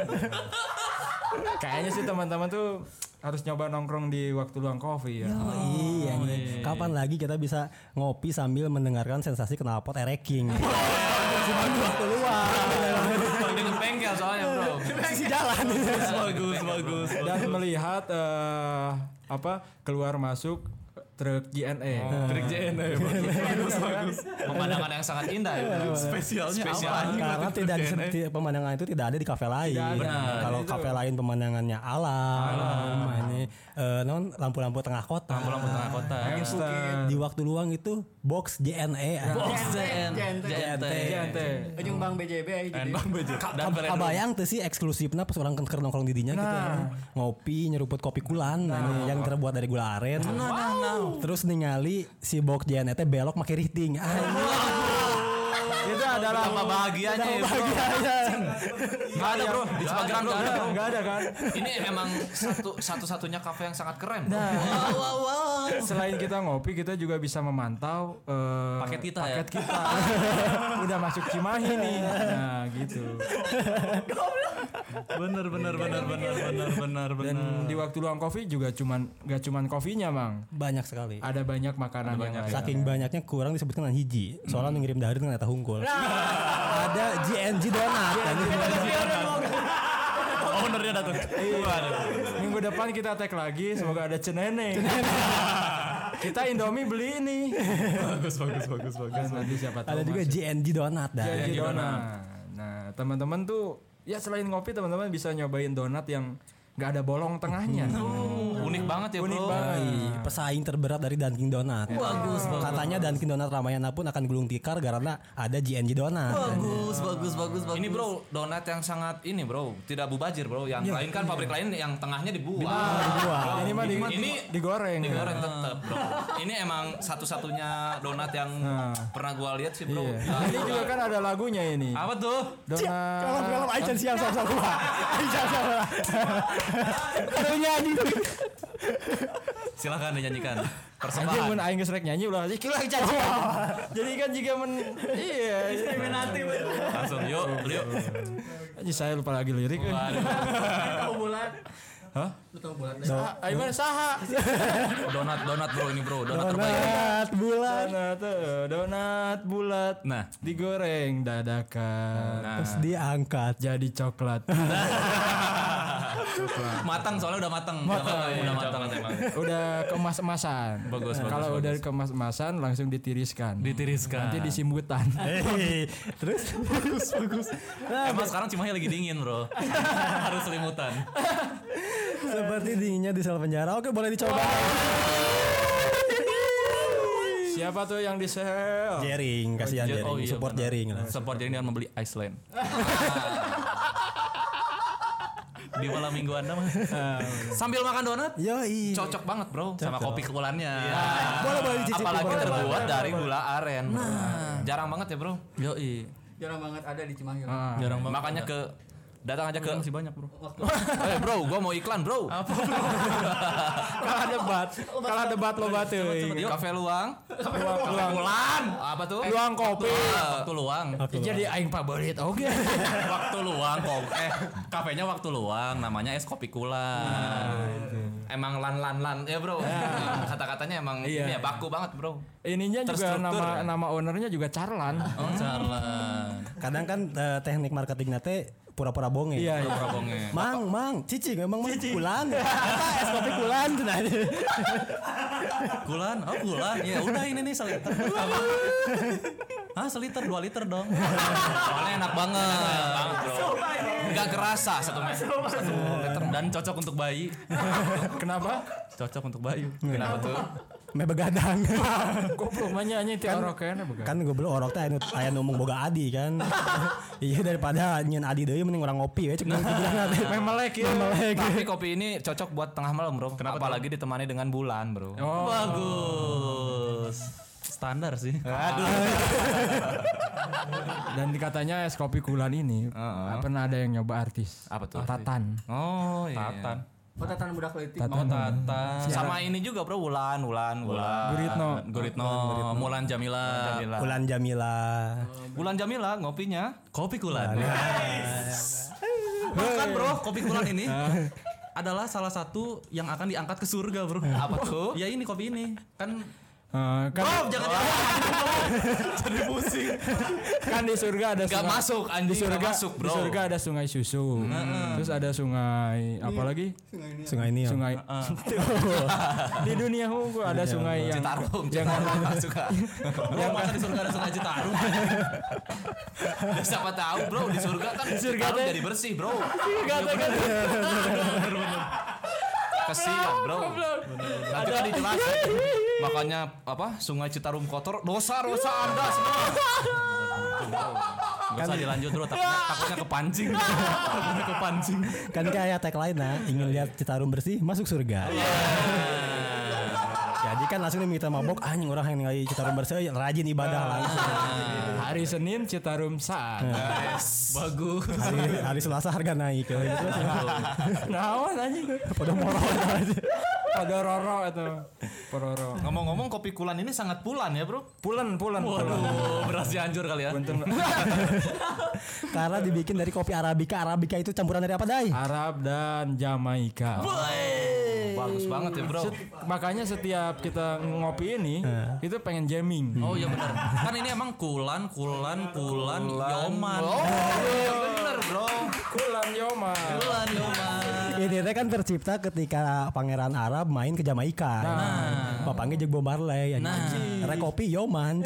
Kayaknya sih teman-teman tuh harus nyoba nongkrong di waktu luang kopi ya.
Oh, iya nih. Kapan lagi kita bisa ngopi sambil mendengarkan sensasi knalpot ereking? Cuma di waktu luang.
Dengan bengkel soalnya bro.
Sisi jalan.
Bagus, bagus.
Dan melihat eh, apa keluar masuk truk JNE.
Trik JNE. Bagus, bagus. Pemandangan yang sangat indah ya.
Iya.
Spesialnya Spesialnya.
Karena tidak di- di- pemandangan itu tidak ada di kafe lain. Kalau kafe lain pemandangannya alam, ini eh, non lampu-lampu tengah kota. Nah,
Pulang ke tengah kota.
Hamster.
Di waktu luang itu box E, JNE.
Box JN.
JNT.
JNT.
JNT.
Ujung Bang BJB aja gitu.
Bang Bejo. Dan
Kab-
keren.
Kabayang tuh sih eksklusifnya pas orang ker nongkrong di dinya gitu ya. Ngopi nyeruput kopi kulan nah, ini yang terbuat dari gula aren. Terus ningali si Bok JNE E teh belok make riting. Ah,
Itu adalah
Tambah bahagianya ya bro.
Gak ada bro. Di Cipageran gak ada.
Enggak ada kan?
Ini emang satu satu-satunya kafe yang sangat keren. bro.
Nah. Selain kita ngopi, kita juga bisa memantau eh,
Paket kita ya?
paket kita. Udah masuk Cimahi nih. Nah, gitu. Iya.
Bener, bener, bener, bener, bener, bener, bener.
Dan di waktu luang kopi juga cuman gak cuman kopinya, Mang.
banyak sekali.
Ada banyak makanan yang lain.
Saking banyaknya kurang disebutkan dengan hiji. Soalnya
Hmm.
ngirim dari dengan eta hungkul. Ada JNG donat.
Iya,
dan itu-
Ownernya datang.
Minggu depan kita tag lagi, semoga ada cenene. kita Indomie beli ini.
Bagus, bagus, bagus, bagus.
Dan nanti siapa tahu
Ada juga
masuk.
JNG donat dan
Iya,
Jadi Iya, donat. Nah, teman-teman tuh ya selain ngopi teman-teman bisa nyobain donat yang nggak ada bolong tengahnya.
Hmm. Unik banget ya bro.
Unik banget.
pesaing terberat dari Dunkin Donat.
Iya.
Bagus, bagus.
Katanya Dunkin Donat Ramayana pun akan gulung tikar karena ada JNG Donat.
Bagus, bagus, bagus, bagus.
Ini bro donat yang sangat ini bro tidak mubajir bro yang
Iya.
lain kan pabrik lain yang tengahnya dibuang
Nah, ini mah di,
Oh, ini
digoreng. ya.
digoreng tetep bro ini emang satu-satunya donat yang
Nah.
pernah gua lihat sih bro
Iya.
Nah,
Ini juga kan ada lagunya ini.
apa tuh
Donat.
Kalau Aican siap siap siap siap. Aican siap siap. Karunya di
silahkan dinyanyikan
Anjing
persembahan
mun aing geus rek nyanyi ulah aja kilah aing caci. Jadi kan jika men iya.
langsung yuk yuk
Anjing saya lupa lagi lirik. euy.
Waduh,
Ah, Aing mah saha?
donat donat bro ini bro donat terbaik
Donat bulan.
Donat, eh, donat bulat.
nah
digoreng dadakan
Terus diangkat.
jadi coklat
matang soalnya udah matang udah matang udah matang
udah kemas-emasan
Bagus, bagus,
kalau
bagus.
udah kemas-emasan langsung ditiriskan
ditiriskan.
nanti disimbutan
Eh.
Hei, terus bagus bagus.
emang sekarang Cimahi lagi dingin bro harus selimutan
Seperti dinginnya di sel penjara. Oke, boleh dicoba.
siapa tuh yang di sel
Jering, kasihan
Jer-
Jering.
oh iya,
Support kan?
benar.
Jering lah.
Support jaring dengan membeli Iceland.
di malam minggu anda mah
Iya.
sambil makan donat
Yoi.
cocok banget bro sama kopi kekulannya
Iya. Boleh boleh dicicipi.
apalagi
boleh. Nah.
terbuat dari gula aren jarang banget ya bro Nah,
Yoi.
Jarang banget ada di Cimahi.
Ah,
Jarang banget.
makanya ke datang aja ke
masih banyak, Bro.
Waktu
eh bro gua mau iklan bro
kalah debat kalah debat lo batu
kafe luang
luang
Lan apa tuh Eh,
luang kopi
waktu luang
jadi aing favorit oke
waktu luang kok eh kafenya waktu luang namanya es kopi
Nah,
kulan emang lan lan lan ya bro kata katanya emang
Iya.
ini ya baku banget bro
ininya juga
Terstruktur,
nama
ya? Oh,
nama ownernya juga Charlan
Charlan
Kadang kan eh, teknik marketingnya teh pura-pura bonge.
iya iya.
Probonge
Mang, mang, cici, emang mang kulan, apa
Ah,
es kopi kulan
nah.
cenah.
Kulan, oh kulan. Ya udah ini nih seliter. Apa? Hah, seliter 2 liter dong.
soalnya enak banget nggak kerasa satu meter satu meter
Dan cocok untuk bayi.
kenapa
Cocok untuk bayi.
kenapa tuh
Meh begadang.
goblok banyak anjing tiap orang kayaknya bukan
kan gue belum orok teh anu aya nu omong boga adi kan. Iya daripada nyen adi deui mending orang ngopi we cek
Nah.
nang kuburan teh.
Meh melek ya
Tapi kopi ini cocok buat tengah malam, Bro. Apalagi ditemani dengan bulan, Bro.
oh
Bagus. Standar sih.
Dan dikatanya es kopi kulan ini pernah ada yang nyoba artis.
Apa tuh?
Tatan.
Oh, iya.
Tatan.
Oh, tatan budak leutik.
Oh,
Tatan.
Tata. Sama ini juga bro, Wulan, Wulan, Wulan.
Guritno.
Guritno, Mulan Jamila.
Ulan Jamila.
Wulan Jamila ngopinya kopi Kulan. Nice. Bahkan bro, kopi Kulan ini adalah salah satu yang akan diangkat ke surga bro. Apa
Oh.
tuh? Ya ini kopi ini kan.
Eh, kan,
Oh jangan diangkat.
Jadi pusing.
kan di surga ada
Gak
sungai-
masuk anjing.
di
Gak
surga
masuk bro.
di surga ada sungai susu terus ada sungai apa lagi
Sungai Nil.
sungai di dunia hukum ada sungai yang
Citarum, Citarum gak suka.
Bro, masa di surga ada sungai Citarum.
Ya, siapa tahu bro di surga kan di
surga
Citarum
teh.
jadi bersih bro.
Kata- kata-
Kesian bro. Nanti kan dijelasin. Makanya apa sungai Citarum kotor dosa dosa anda semua.
Gak usah dilanjut bro, takutnya, takutnya kepancing. takutnya kepancing.
Kan kayak tagline nah, ingin lihat Citarum bersih, masuk surga.
Iya.
Jadi kan langsung nih kita mabok anjing orang yang ningali Citarum bersih rajin ibadah
Nah.
langsung.
hari Senin Citarum saat
Bagus.
Hari, hari Selasa harga naik ya. gitu.
naon anjing
Pada moral aja.
ada roro itu pororo
Ngomong-ngomong kopi kulan ini sangat pulan ya bro.
pulen pulen
Waduh, berasnya hancur kali ya.
Karena dibikin dari kopi arabica, arabica itu campuran dari apa, Dai?
Ah.
Arab dan Jamaika
Bagus banget ya bro.
Set- makanya setiap kita ngopi ini itu pengen jamming
Oh iya benar. Kan ini emang kulan, kulan, kulan, yoman.
Oh iya bener bro.
kulan yoma
Kulan, yoman.
Ini teh kan tercipta ketika pangeran Arab main ke Jamaika. Nah, bapaknya jeung Bob Marley anjing.
Nah.
Rek kopi Yoman.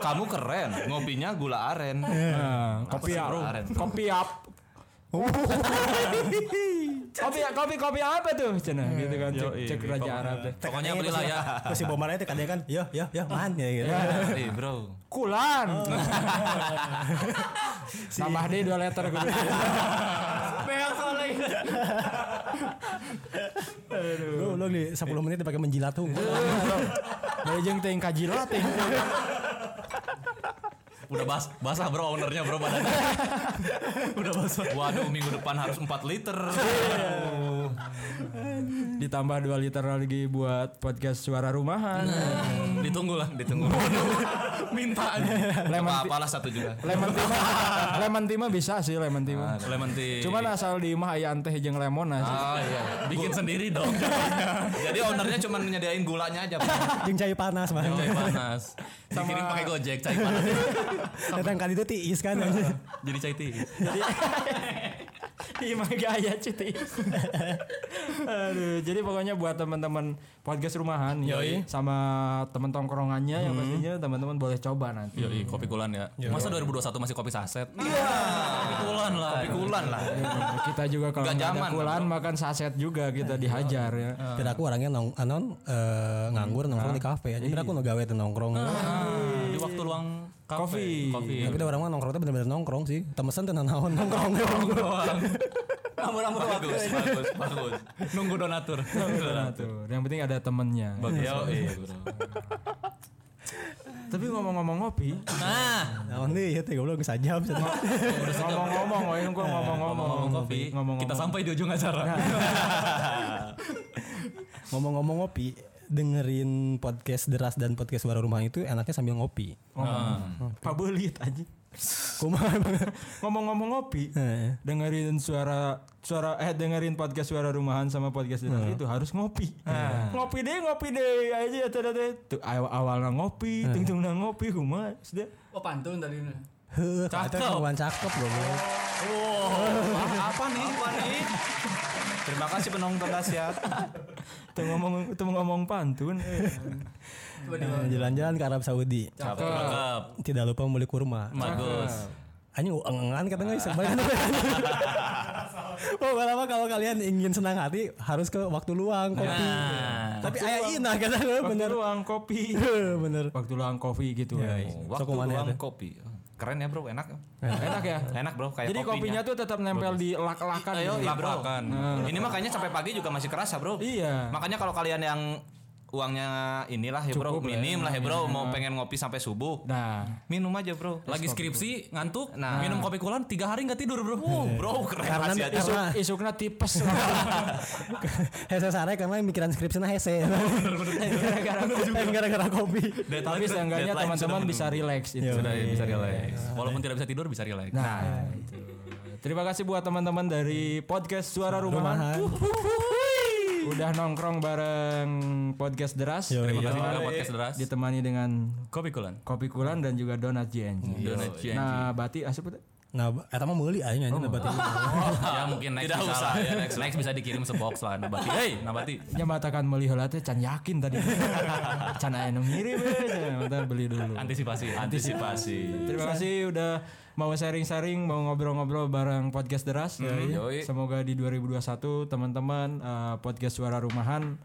Kamu keren. Ngopinya gula aren.
Nah, kopi
sih,
up Oh.
bro? Aren.
kopi up kopi kopi kopi apa tuh cina gitu kan cek, cek raja Arab deh
Pokoknya belilah ya.
Terus si Bob Marley teh kadang kan, "Yo, yo, yo, man." ya gitu.
Eh bro.
kulan tambah deh dua letter gitu.
Lu lu di 10 menit dipakai menjilat tuh.
Dari jeung teuing kajilat teuing.
Udah bas basah bro ownernya bro badannya. Udah basah. Waduh minggu depan harus 4 liter.
ditambah dua liter lagi buat podcast suara rumahan
ditunggu lah, ditunggu. Minta aja. Apa apalah satu juga.
lemon tea mah- lemon tea mah bisa sih lemon tea mah.
Lemon tea.
cuman asal di imah aya teh jeung lemon nah. aja
Ah iya.
bikin sendiri dong.
Jadi ownernya cuma menyediain gulanya aja. Bro.
Jeung cai panas, man.
Cai panas. Dikirim pakai Gojek cai panas.
Datang kali itu tiis kan. anjing.
Jadi cai tea.
di imah ge aya cuti aduh jadi pokoknya buat teman-teman podcast rumahan yoi. sama teman tongkrongannya yang pastinya teman-teman boleh coba nanti
Yoi, kopi kulan ya. Masa 2021 masih kopi saset? Iya. Kopi kulan lah. Kopi kulan lah.
kita juga kalau
Nggak
nggak ada
zaman,
kulan makan saset juga kita dihajar ya
Ah.
Tapi aku orangnya nong anon eh, nganggur nongkrong di kafe aja. Tapi
Iya.
aku nu gawe teh nongkrong.
Ah. Di waktu luang
Kopi.
kafe. Kopi.
Tapi dah orang mah nongkrong teh bener-bener nongkrong sih. Temesan teh nanaon nongkrong.
Lama-lama waktu.
Bagus, bagus, bagus.
Nunggu donatur.
Nah, tuh. yang penting ada temennya
Bagus.
Yoi, bro.
tapi ngomong-ngomong ngopi
Nah,
Naon deui ieu teh goblok geus ya, sajam.
ngomong-ngomong woi gua ngomong-ngomong
ngomong kopi, Nah.
ngomong
kita sampai di ujung acara.
Ngomong-ngomong ngopi, dengerin podcast deras dan podcast suara rumah itu enaknya sambil ngopi.
pabelit aja
Kumaha emang?
ngomong-ngomong ngopi
Heeh.
dengerin suara suara eh dengerin podcast suara rumahan sama podcast dinas itu harus ngopi ngopi deh ngopi deh aja tadi tadi tuh awal awalnya ngopi tung tung ngopi kumaha sudah
Oh, pantun tadi.
Heuh, kata
Cakep.
kawan cakep goblok.
Apa nih? Apa nih? Terima kasih ya. penonton kasihan.
tuh ngomong tuh ngomong pantun
Coba di
Nah, Jalan-jalan ke Arab Saudi.
Cakep.
Tidak lupa membeli kurma.
Bagus.
Anjing engan kata guys. Pokoknya Oh, kalau kalian ingin senang hati harus ke waktu luang kopi.
Nah.
Tapi ayah ina kata gue
waktu
bener.
luang kopi
Heuh, Bener.
waktu luang kopi gitu ya
Waktu
Sok kemana
luang
ada?
kopi. Keren ya bro, enak.
enak ya
Enak bro, kayak
jadi kopinya tuh tetap nempel di lak-lakan
Ayo, Hmm.
gitu.
iya, bro. Ini makanya sampai pagi juga masih kerasa bro.
Iya.
Makanya kalau kalian yang uangnya inilah ya bro,
Cukup lah ya,
minim lah ya bro, mau pengen ngopi sampai subuh.
Nah,
Minum aja bro.
Lagi skripsi, ngantuk,
Nah.
minum kopi kulan, tiga hari nggak tidur
Iya.
bro.
Bro, keren
Karena-
hasilnya.
Karena-
isuk isukna tipes.
hese sare karena mikiran skripsinya hese. Gara-gara eh, gara-gara kopi.
Tapi
deadline
seenggaknya
sudah
teman-teman
menunggu.
bisa relax itu.
Sudah bisa relax. Walaupun tidak bisa tidur bisa relax.
Nah, itu. terima kasih buat teman-teman dari podcast Suara Rumahan.
Rumahan.
Udah nongkrong bareng podcast Deras.
Yo,
Terima
iya.
kasih juga podcast deras.
Ditemani dengan
Kopi kulan.
kopi kulan dan juga donat JNJ.
Donat JNJ.
Nah, Bati asup teh?
Nah, eta mah Oh, meuli aing anjing berarti.
ya mungkin next
Tidak
bisa
usah,
lah.
ya,
next, bisa dikirim sebox lah nabati. Hey, nabati.
Nya matakan meuli heula teh can yakin tadi. can aya nu ngirim we, nya. Mata eh. beli dulu.
Antisipasi.
Antisipasi.
Terima kasih udah mau sharing-sharing, mau ngobrol-ngobrol bareng podcast Deras.
Yoi.
Semoga di 2021 teman-teman eh, podcast Suara Rumahan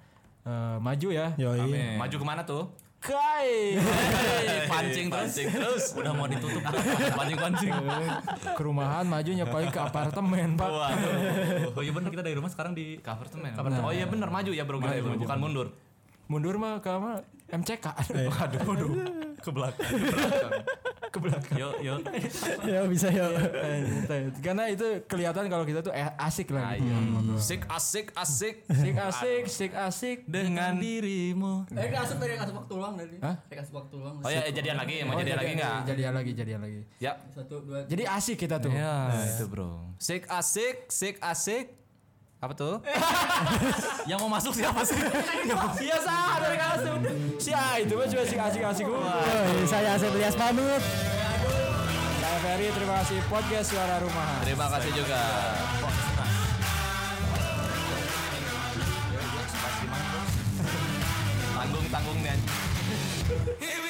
eh, maju ya.
Yoi.
Maju kemana tuh?
Kai
Hey, pancing terus.
Pancing terus.
Udah mau ditutup. Pancing pancing.
ke rumahan majunya paling ke apartemen, Pak.
Oh iya bener kita dari rumah sekarang di cover tuh men.
Oh iya bener maju ya bro, gitu, bukan mundur.
Mundur mah ke apa? MCK.
Aduh, aduh. Ke belakang. Ke belakang. Yo, yo.
Ya bisa ya.
Eh, Karena itu kelihatan kalau kita tuh eh, asik lah. gitu.
Asik, asik, asik.
Sik asik, sik asik dengan dirimu.
Eh, kasih dari kasih waktu luang dari.
Hah?
Kayak kasih waktu luang.
Oh ya jadian lagi, mau
Oh,
jadian lagi nggak?
Jadian lagi, jadian lagi.
Ya.
Satu, dua,
Jadi asik kita tuh.
Nah, itu bro. Sik asik, sik asik. Apa tuh?
Yang mau masuk siapa sih?
Iya sah dari kasut. Si A itu mah cuma asik asik asik
Yoi, saya Asep Ilyas pamit.
Saya Ferry terima kasih podcast suara rumahan.
Terima kasih juga. Tanggung-tanggung nih.
Here we